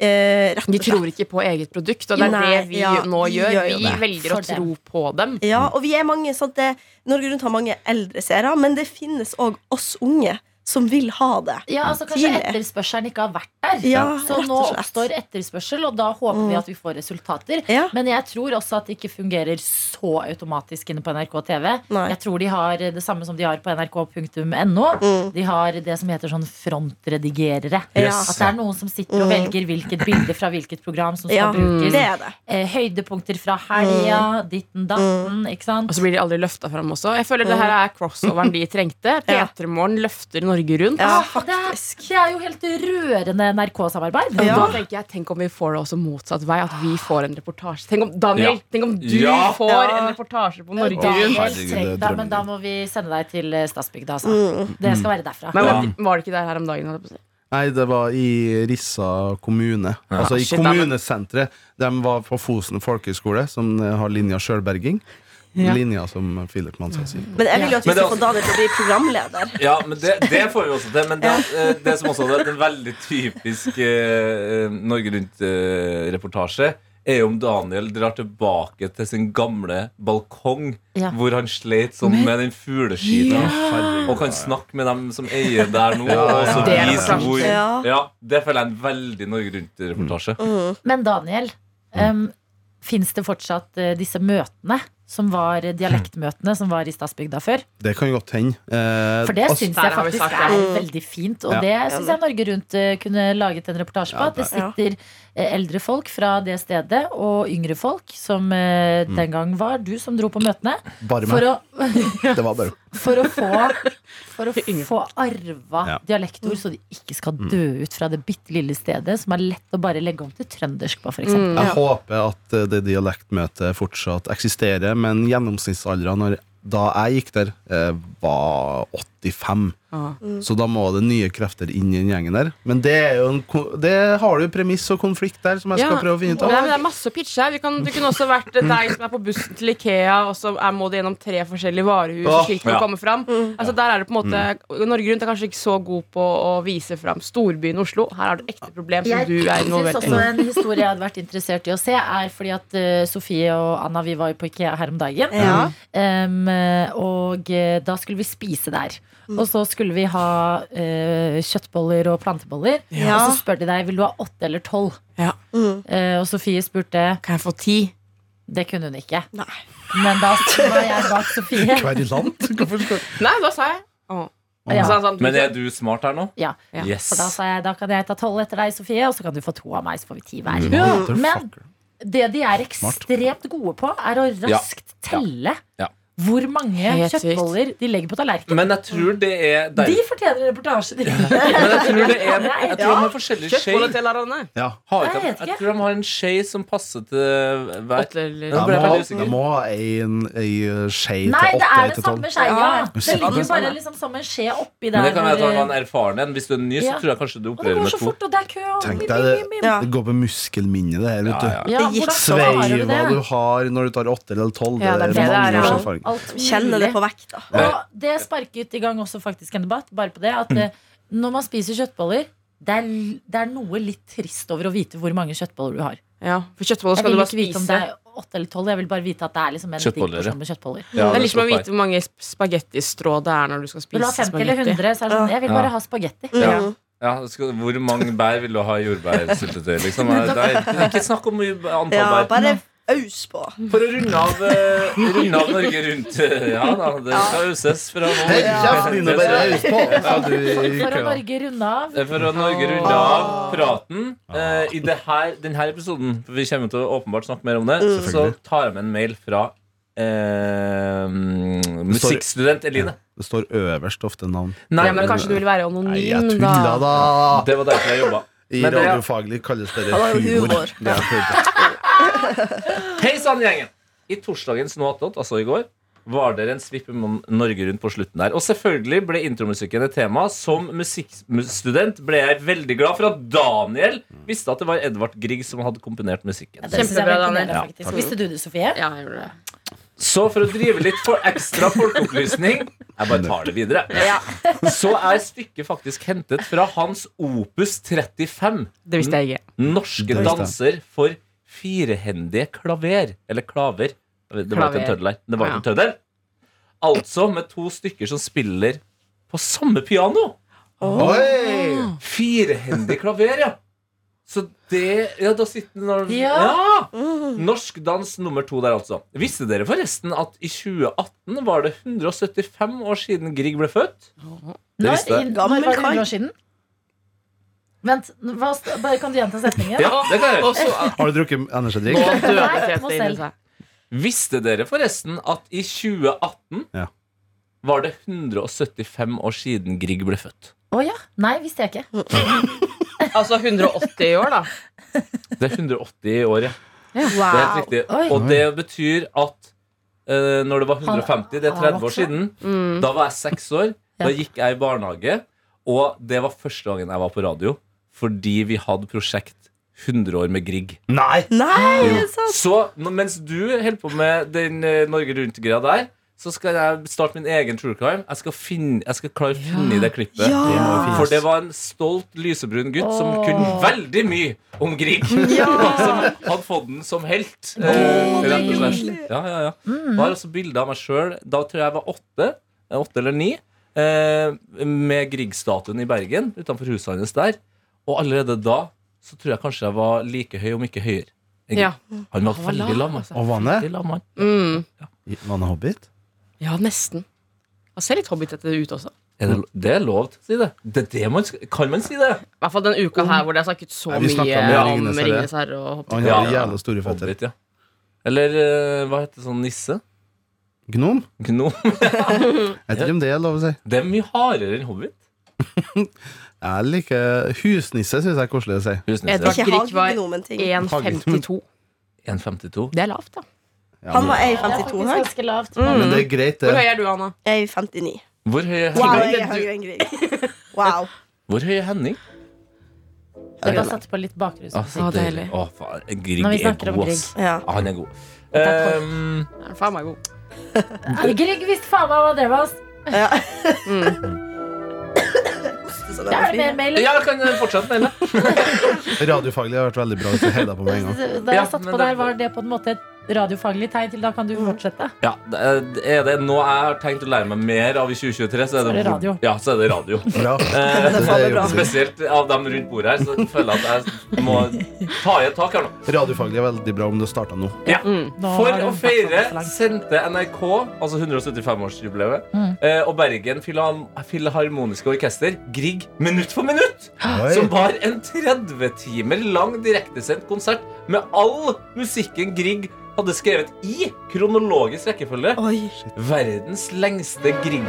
Speaker 4: eh, rett og
Speaker 5: De
Speaker 4: slett.
Speaker 5: tror ikke på eget produkt, og det er
Speaker 4: Nei,
Speaker 5: det vi
Speaker 4: ja,
Speaker 5: nå
Speaker 4: vi
Speaker 5: gjør.
Speaker 4: gjør jo
Speaker 5: Vi
Speaker 4: det.
Speaker 5: velger å
Speaker 3: For
Speaker 5: tro på dem.
Speaker 4: Ja, og vi er mange, sant? Det, Norge Rundt har mange eldre seere, men det finnes òg oss unge som vil ha det.
Speaker 3: Ja, altså Kanskje
Speaker 4: Tidlig.
Speaker 3: etterspørselen ikke har vært der.
Speaker 4: Ja,
Speaker 3: så
Speaker 4: rett og
Speaker 3: nå
Speaker 4: slett. Mm.
Speaker 3: oppstår etterspørsel, og da håper vi at vi får resultater.
Speaker 4: Ja.
Speaker 3: Men jeg tror også at det ikke fungerer så automatisk inne på NRK TV.
Speaker 4: Nei.
Speaker 3: Jeg tror de har det samme som de har på nrk.no.
Speaker 4: Mm.
Speaker 3: De har det som heter sånn frontredigerere.
Speaker 6: Yes.
Speaker 3: At det er noen som sitter og velger hvilket bilde fra hvilket program som skal
Speaker 4: Mm. Ja,
Speaker 3: brukes.
Speaker 4: det er Mm. det.
Speaker 3: Eh, høydepunkter fra helga, ditten datten, ikke sant?
Speaker 5: Og så blir de aldri løfta fram også. Jeg føler det her er crossoveren de trengte.
Speaker 4: Ja.
Speaker 5: P3morgen løfter Norge rundt.
Speaker 4: Ja,
Speaker 3: Ah, det, er,
Speaker 4: faktisk.
Speaker 3: det er jo helt rørende NRK-samarbeid.
Speaker 5: Og
Speaker 4: Ja.
Speaker 5: Da tenker jeg, Tenk om vi får det også motsatt vei. At vi får en reportasje. Tenk om, Daniel,
Speaker 2: Ja.
Speaker 5: tenk om du
Speaker 2: Ja.
Speaker 5: får
Speaker 4: Ja.
Speaker 5: en reportasje på
Speaker 3: Daniel,
Speaker 5: Norge Rundt.
Speaker 6: Herregud, det er
Speaker 3: tenk deg, men da
Speaker 6: drømmen.
Speaker 3: må vi sende deg til eh, Statsbygda. Altså. Det skal være derfra.
Speaker 5: Men
Speaker 2: Ja.
Speaker 5: var, var det ikke der her om dagen? holdt jeg på å si?
Speaker 6: Nei, det var i Rissa kommune. Altså i
Speaker 5: Shit, da, men-
Speaker 6: kommunesenteret. De var på Fosen folkehøgskole, som eh, har linja sjølberging.
Speaker 5: Ja.
Speaker 6: Linja som Philip Mansson sier.
Speaker 4: Men jeg vil jo at vi
Speaker 2: Men det
Speaker 4: skal
Speaker 2: er
Speaker 4: få Daniel til å bli programleder.
Speaker 2: Ja, men det, det får vi også til. Men det, eh, det som også er en veldig typisk eh, eh, Norge Rundt-reportasje, er jo om Daniel drar tilbake til sin gamle balkong,
Speaker 3: Ja.
Speaker 2: hvor han sleit sånn med den fugleskiten. Og kan snakke med dem som eier der nå. Og så
Speaker 5: Det er
Speaker 2: vise
Speaker 5: sant.
Speaker 2: hvor
Speaker 4: Ja.
Speaker 2: ja, Det føler jeg er en veldig Norge Rundt-reportasje.
Speaker 3: Men Daniel, um, fins det fortsatt eh, disse møtene? Som var eh, dialektmøtene som var i Stadsbygda før.
Speaker 6: Det kan godt hende. Eh,
Speaker 3: For det
Speaker 6: altså,
Speaker 3: syns
Speaker 5: der
Speaker 3: jeg
Speaker 5: har vi
Speaker 3: faktisk
Speaker 5: sagt det.
Speaker 3: er veldig fint. Og
Speaker 6: Ja.
Speaker 3: det syns jeg Norge Rundt eh, kunne laget en reportasje på.
Speaker 6: Ja,
Speaker 3: At det
Speaker 4: ja.
Speaker 3: sitter eh, eldre folk fra det stedet, og yngre folk, som eh, den gang var du som dro på møtene,
Speaker 6: bare meg.
Speaker 3: for å,
Speaker 6: Det var bare
Speaker 3: for å få, for å
Speaker 5: Yngre
Speaker 3: få arva
Speaker 6: Ja.
Speaker 3: dialektord, så de ikke skal dø ut fra det bitte lille stedet, som er lett å bare legge om til trøndersk på,
Speaker 5: Mm.
Speaker 3: f.eks.
Speaker 6: Jeg håper at eh, det dialektmøtet fortsatt eksisterer, men gjennomsnittsalderen når- da jeg gikk der, eh, var 85.
Speaker 5: Ah.
Speaker 6: Så da må det nye krefter inn i den gjengen der. Men det, er jo en, ko- det har du jo premiss og konflikt der som jeg skal
Speaker 5: Ja.
Speaker 6: prøve å finne ut
Speaker 5: Nei,
Speaker 6: av.
Speaker 5: men det er masse å pitche her. Vi kan, du kunne også vært deg som er på bussen til Ikea, og så er, må du gjennom tre forskjellige varehus.
Speaker 6: Åh,
Speaker 5: og slik du
Speaker 2: ja. Mm.
Speaker 5: kommer fram
Speaker 3: Mm.
Speaker 5: Altså der er det på en måte Norge Rundt er kanskje ikke så god på å vise fram storbyen Oslo. Her er det ekte problem som du er
Speaker 3: synes
Speaker 5: involvert i.
Speaker 3: også en historie jeg hadde vært interessert i å se, er fordi at eh, Sofie og Anna vi var jo på Ikea her om dagen.
Speaker 4: Ja.
Speaker 3: Em, eh, og eh, da skulle vi spise der.
Speaker 5: Mm.
Speaker 3: Og så skulle vi ha eh, kjøttboller og planteboller.
Speaker 4: Ja.
Speaker 3: Og så spør de deg vil du ha åtte eller tolv.
Speaker 5: Ja.
Speaker 3: Eh, og Sofie spurte
Speaker 5: Kan jeg få ti?
Speaker 3: Det kunne hun ikke.
Speaker 4: Nei.
Speaker 3: Men da var jeg bak Sofie.
Speaker 6: Kverulant? Hvorfor skal
Speaker 5: Nei, da sa jeg. Åh.
Speaker 3: Ja.
Speaker 5: Så han sa,
Speaker 2: Men er du smart her nå?
Speaker 3: Ja,
Speaker 5: Ja.
Speaker 2: Yes.
Speaker 3: for da sa jeg da kan jeg ta tolv etter deg, Sofie, og så kan du få to av meg. Så får vi ti hver.
Speaker 2: Mm.
Speaker 3: Men
Speaker 6: Motherfucker.
Speaker 3: det de er
Speaker 6: Smart.
Speaker 3: ekstremt gode på, er å raskt telle
Speaker 2: Ja.
Speaker 3: hvor mange
Speaker 5: Helt sykt.
Speaker 3: kjøttboller de legger på tallerkenen.
Speaker 2: Men jeg tror det er der.
Speaker 3: De fortjener en reportasje.
Speaker 2: Men jeg tror det er Jeg tror de har forskjellig skje.
Speaker 5: Kjøttboller til Arne.
Speaker 6: Ja.
Speaker 2: Har
Speaker 3: Jeg
Speaker 2: ikke,
Speaker 3: vet
Speaker 2: jeg
Speaker 3: ikke.
Speaker 2: tror de har en skje som passer til hver
Speaker 5: Åtte eller-
Speaker 2: Ja,
Speaker 6: Jeg
Speaker 2: ble
Speaker 6: må,
Speaker 2: veldig usikker.
Speaker 6: jeg må ha en, en skje til
Speaker 3: Nei, det er
Speaker 6: åtte til
Speaker 3: det
Speaker 6: tolv.
Speaker 3: samme skeia.
Speaker 5: Ja,
Speaker 3: Det
Speaker 6: det er
Speaker 3: ligger
Speaker 6: det
Speaker 3: bare
Speaker 5: samme.
Speaker 3: liksom som en skje
Speaker 2: Men
Speaker 3: oppi der.
Speaker 2: det kan være at han er
Speaker 3: hvor-
Speaker 2: en erfaren en. Hvis du er ny, så
Speaker 3: Ja.
Speaker 2: tror jeg kanskje du
Speaker 3: Og det
Speaker 2: opererer
Speaker 3: går
Speaker 2: med
Speaker 3: så
Speaker 2: to.
Speaker 3: fort, og det er kø. og
Speaker 6: Tenk
Speaker 3: mim,
Speaker 6: deg det.
Speaker 3: mim, mim.
Speaker 4: Ja.
Speaker 6: Det går på muskelminnet, det her. vet du.
Speaker 2: Ja, ja.
Speaker 3: Ja,
Speaker 4: Det
Speaker 3: hvordan
Speaker 4: gikk
Speaker 3: klarer du
Speaker 6: Sveiva
Speaker 3: det?
Speaker 6: du har når du tar åtte eller tolv.
Speaker 5: Ja, det er
Speaker 6: det er
Speaker 5: det
Speaker 6: mange
Speaker 5: der, ja.
Speaker 6: års erfaring.
Speaker 3: Alt mulig.
Speaker 4: Kjenne det på vekta.
Speaker 2: Ja.
Speaker 3: Og det sparket i gang også faktisk en debatt, bare på det, at eh, når man spiser kjøttboller, det er, l- det er noe litt trist over å vite hvor mange kjøttboller du har.
Speaker 5: Ja, for kjøttboller
Speaker 3: Jeg
Speaker 5: skal du
Speaker 3: vil
Speaker 5: bare
Speaker 3: ikke vite
Speaker 5: spise.
Speaker 3: om det er åtte eller tolv. Jeg vil bare vite at det er liksom en
Speaker 2: Kjøttboller,
Speaker 3: digg
Speaker 2: ja.
Speaker 3: porsjon med kjøttboller.
Speaker 2: Ja,
Speaker 5: det er litt som å
Speaker 2: står feil.
Speaker 5: vite hvor mange sp- spagettistrå det er når du skal
Speaker 3: Vil du
Speaker 5: spise
Speaker 3: ha 50 eller
Speaker 5: spagetti.
Speaker 3: 100, så er det sånn Jeg vil
Speaker 2: Ja.
Speaker 3: bare ha spagetti.
Speaker 5: Mm.
Speaker 2: Ja. Ja, skal, hvor mange bær vil du ha i jordbærsyltetøy? Liksom? Det er ikke, ikke snakk om mye antall
Speaker 4: Ja,
Speaker 2: bær.
Speaker 4: bare aus på.
Speaker 2: For å runde av, eh, runde av Norge rundt. eh, Ja da, det skal øses fra nå.
Speaker 6: Hei, kjeften din og bare raus på! sa du i
Speaker 3: For å
Speaker 6: køa.
Speaker 3: Norge runde av.
Speaker 2: Det er Eh, For å Norge runde av praten
Speaker 5: Ah.
Speaker 2: eh, I det her, denne episoden, for vi kommer til å åpenbart snakke mer om det, så
Speaker 6: Selvfølgelig.
Speaker 2: tar jeg med en mail fra eh, musikkstudent Eline.
Speaker 6: Det står øverst ofte navn.
Speaker 2: Nei,
Speaker 5: Ja, men kanskje du vil være anonym,
Speaker 6: Nei, jeg
Speaker 5: da.
Speaker 6: tulla, da!
Speaker 2: det var derfor jeg jobba.
Speaker 6: I
Speaker 2: Men det-
Speaker 6: radiofaglig kalles det
Speaker 4: Han har jo
Speaker 6: humor.
Speaker 4: humor.
Speaker 6: Det er humor.
Speaker 2: Hei sann, gjengen! I torsdagens Noatot, altså i går, var dere en svipp om Norge Rundt på slutten der. Og selvfølgelig ble intromusikken et tema. Som musikkstudent ble jeg veldig glad for at Daniel
Speaker 5: Mm.
Speaker 2: visste at det var Edvard Grieg som hadde komponert musikken.
Speaker 3: Det synes jeg
Speaker 5: Kjempebra,
Speaker 3: var imponerende,
Speaker 5: Daniel.
Speaker 3: faktisk. Visste du det, Sofie?
Speaker 5: Ja, jeg gjorde det.
Speaker 2: Så for å drive litt for ekstra folkeopplysning Jeg bare tar det videre. Så er stykket faktisk hentet fra hans Opus 35.
Speaker 5: Det visste jeg ikke.
Speaker 2: Norske
Speaker 6: Det visste jeg.
Speaker 2: danser for firehendige klaver. Eller klaver. Det var ikke en
Speaker 5: Klaver.
Speaker 2: tøddel her. Det var ikke en
Speaker 5: Ja.
Speaker 2: tøddel. Altså med to stykker som spiller på samme piano.
Speaker 6: Oi!
Speaker 2: Firehendig klaver, ja. Så det Ja, da sitter den og-
Speaker 3: Ja.
Speaker 4: Mm.
Speaker 2: Ja! Norsk dans nummer to der, altså. Visste dere forresten at i 2018 var det 175 år siden Grieg ble født? Det
Speaker 3: Når,
Speaker 2: visste jeg.
Speaker 3: i- når
Speaker 4: Gammel
Speaker 3: var det
Speaker 4: kar.
Speaker 3: 100 år siden? Vent, hva, st- bare kan du gjenta setningen?
Speaker 2: Ja, det kan jeg gjøre.
Speaker 5: Og så
Speaker 6: Har du drukket energidrikk?
Speaker 5: Nå døde
Speaker 3: Nei, må
Speaker 5: Tete inni
Speaker 3: selv.
Speaker 5: seg.
Speaker 2: Visste dere forresten at i 2018
Speaker 6: Ja.
Speaker 2: var det 175 år siden Grieg ble født?
Speaker 3: Å ja. Nei, visste jeg ikke.
Speaker 5: Altså 180 i år, da.
Speaker 2: Det er 180 år, ja. Det er helt
Speaker 4: Wow.
Speaker 2: riktig.
Speaker 3: Oi.
Speaker 2: Og det betyr at eh, når det var 150, det er
Speaker 3: Han-
Speaker 2: 30
Speaker 3: han
Speaker 2: år
Speaker 3: vokser.
Speaker 2: siden,
Speaker 5: Mm.
Speaker 2: Da var jeg seks år. Da
Speaker 3: Ja.
Speaker 2: gikk jeg i barnehage. Og det var første gangen jeg var på radio, fordi vi hadde prosjekt 100 år med Grieg.
Speaker 6: Nei!
Speaker 4: Nei, er det sant?
Speaker 2: Så nå- mens du holder på med den eh, Norge Rundt-greia der, så skal jeg starte min egen true crime. Jeg skal, finne, jeg skal klare å finne i det klippet.
Speaker 4: Ja.
Speaker 2: For det var en stolt lysebrun gutt som
Speaker 3: Åh.
Speaker 2: kunne veldig mye om Grieg. som hadde fått den som helt. eh,
Speaker 3: det er
Speaker 2: rett og slett. Ja, ja, ja. Det var også bilde av meg sjøl. Da tror jeg jeg var åtte, eh, åtte eller ni. Eh, med Grieg-statuen i Bergen utenfor huset hans der. Og allerede da så tror jeg kanskje jeg var like høy, om ikke høyere. enn
Speaker 5: Ja.
Speaker 2: Grieg. Han var
Speaker 5: Han var
Speaker 2: veldig lav,
Speaker 5: lav,
Speaker 2: altså.
Speaker 5: altså.
Speaker 6: Og vannet?
Speaker 2: Veldig lav mann.
Speaker 5: Mm.
Speaker 6: Vannet Hobbit?
Speaker 5: Ja, nesten. Han ser litt hobbitete ut også.
Speaker 2: Er det, det er lov til å si det. det, er det man, skal- kan man si det?
Speaker 5: I hvert fall den uka her hvor det har snakket så
Speaker 6: Nei, vi
Speaker 5: mye
Speaker 6: snakket om
Speaker 5: om
Speaker 6: Ringenes herre.
Speaker 5: Ringenes herre. og Hobbit.
Speaker 6: Han
Speaker 2: Ja.
Speaker 6: har jævla store føtter.
Speaker 2: Hobbit, ja. Eller eh, hva heter sånn nisse?
Speaker 6: Gnom?
Speaker 2: Gnom?
Speaker 6: Jeg vet ikke om det er lov å si.
Speaker 2: Det er mye hardere enn hobbit.
Speaker 6: Jeg liker Husnisse syns jeg er koselig å si.
Speaker 2: Husnisse.
Speaker 5: Edvard.
Speaker 4: Ikke
Speaker 5: Grik var
Speaker 4: hagenomen-ting.
Speaker 5: 1,52.
Speaker 2: 1,52.
Speaker 5: Det er lavt, da.
Speaker 6: Ja,
Speaker 4: Han var
Speaker 3: Det er
Speaker 4: 1,52
Speaker 3: faktisk
Speaker 4: høy.
Speaker 3: ganske lavt.
Speaker 2: Mm.
Speaker 6: Men det er greit,
Speaker 5: Hvor høy
Speaker 6: det.
Speaker 5: er du, Anna?
Speaker 4: 1,59.
Speaker 2: Hvor høy er
Speaker 4: Wow,
Speaker 2: Henning?
Speaker 4: jeg er høyere enn Grieg. Wow.
Speaker 2: Hvor høy er Henning?
Speaker 3: Jeg bare satte på litt bakgrus.
Speaker 2: Å, så
Speaker 5: Å,
Speaker 2: deilig.
Speaker 5: deilig.
Speaker 2: Å, faen. Grieg
Speaker 3: Når vi
Speaker 2: er
Speaker 3: snakker om
Speaker 2: god, ass.
Speaker 4: Ja.
Speaker 2: Ja, han er god.
Speaker 3: Takk for-
Speaker 2: Ehm,
Speaker 5: Den er Faen meg god.
Speaker 3: Grieg visste faen meg hva det var. ass.
Speaker 4: ja.
Speaker 5: Mm.
Speaker 4: Så det
Speaker 3: Ja,
Speaker 4: var
Speaker 3: er det mer
Speaker 4: fint.
Speaker 3: mail?
Speaker 2: ja, jeg kan fortsette med det.
Speaker 6: Radiofaglig har vært veldig bra hvis du heier deg på med en gang.
Speaker 3: Da
Speaker 2: Ja,
Speaker 3: jeg satte
Speaker 2: men
Speaker 3: på
Speaker 2: det-
Speaker 3: der, var det på en måte et radiofaglig tegn til da kan du fortsette.
Speaker 2: Ja, det er er det noe jeg har tenkt å lære meg mer av i 2023, så er det,
Speaker 3: Så er det radio.
Speaker 2: Ja, så er det radio.
Speaker 6: Bra.
Speaker 2: Eh,
Speaker 6: Det
Speaker 4: faller
Speaker 6: er
Speaker 4: bra.
Speaker 6: jobben sin.
Speaker 2: spesielt av dem rundt bordet her, så jeg føler at jeg må ta i et tak her nå.
Speaker 6: Radiofaglig er veldig bra om du starta
Speaker 3: Nå
Speaker 6: nå.
Speaker 3: har
Speaker 2: For
Speaker 3: det
Speaker 2: å
Speaker 3: vært
Speaker 2: feire
Speaker 3: så langt.
Speaker 2: sendte NRK, altså 175-årsjubileet,
Speaker 3: Mm.
Speaker 2: eh, og Bergen Filham- Filharmoniske Orkester Grieg minutt for minutt!
Speaker 6: Oi.
Speaker 2: Som var en 30 timer lang direktesendt konsert med all musikken Grieg hadde skrevet i kronologisk rekkefølge.
Speaker 4: Oi.
Speaker 2: Verdens lengste Grieg.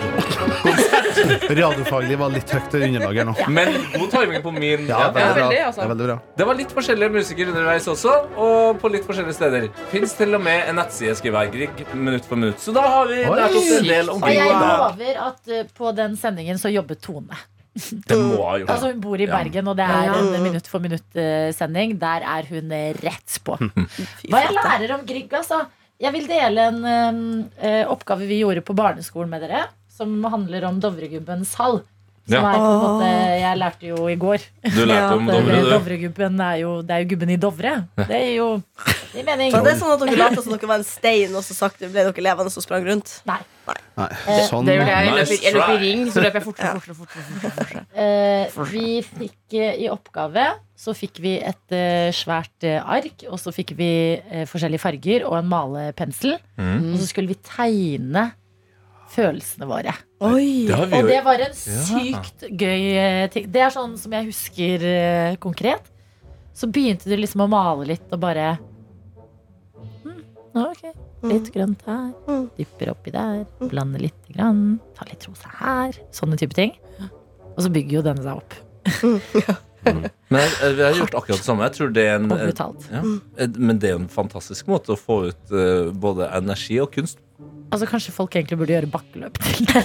Speaker 6: Radiofaglig var litt høyt i underlaget her nå.
Speaker 2: Men god timing på min.
Speaker 6: Ja, det er
Speaker 5: veldig,
Speaker 6: bra.
Speaker 5: altså.
Speaker 6: Det er veldig bra.
Speaker 2: Det var litt forskjellige musikere underveis også, og på litt forskjellige steder. Fins til og med en nettside skriver jeg, Grieg minutt for minutt. Så da har vi
Speaker 6: Oi.
Speaker 2: lært oss en del om
Speaker 3: Og jeg
Speaker 2: Grieg. da.
Speaker 3: lover at eh, på den sendingen så jobbet Tone.
Speaker 2: Det må ha gjort.
Speaker 3: Altså Hun bor i
Speaker 2: Ja.
Speaker 3: Bergen, og det er en minutt for minutt-sending. Der er hun eh, rett på. Hva jeg lærer om Grieg, altså. Jeg vil dele en eh, eh, oppgave vi gjorde på barneskolen med dere, som handler om Dovregubbens hall. Som
Speaker 2: Ja.
Speaker 3: er på en
Speaker 4: Åh.
Speaker 3: måte, jeg lærte jo i går
Speaker 2: Du
Speaker 4: Ja,
Speaker 2: lærte om
Speaker 3: at
Speaker 2: Dovre,
Speaker 3: det-
Speaker 2: du.
Speaker 3: Dovregubben er jo, det er jo gubben i Dovre. Det er jo det gir mening.
Speaker 4: Så det er sånn at dere later som dere var en stein, og så sakte ble dere levende og sprang rundt?
Speaker 3: Nei.
Speaker 6: Nei, sånn.
Speaker 5: Det gjorde jeg. Jeg
Speaker 2: Nice
Speaker 5: løper, jeg løper i
Speaker 2: try.
Speaker 5: ring, så løper jeg fortere fortere. fortere, fortere, fortere.
Speaker 3: Eh, vi fikk eh, i oppgave så fikk vi et eh, svært eh, ark, og så fikk vi eh, forskjellige farger og en malepensel.
Speaker 2: Mhm.
Speaker 3: Og så skulle vi tegne følelsene våre.
Speaker 4: Oi.
Speaker 2: Det har vi
Speaker 3: Og det
Speaker 2: jo.
Speaker 3: var en sykt gøy eh, ting. Det er sånn som jeg husker eh, konkret. Så begynte du liksom å male litt og bare «Hm, ja, ok. Litt grønt her,
Speaker 4: Mm.
Speaker 3: dypper oppi der, blander litt, grann, tar litt rosa her. Sånne type ting. Og så bygger jo denne seg opp.
Speaker 2: Men jeg, jeg, har gjort akkurat det samme. Jeg tror det er en,
Speaker 3: Og brutalt.
Speaker 2: ja. Men det er en fantastisk måte å få ut eh, både energi og kunst.
Speaker 3: Altså Kanskje folk egentlig burde gjøre bakkeløp til det?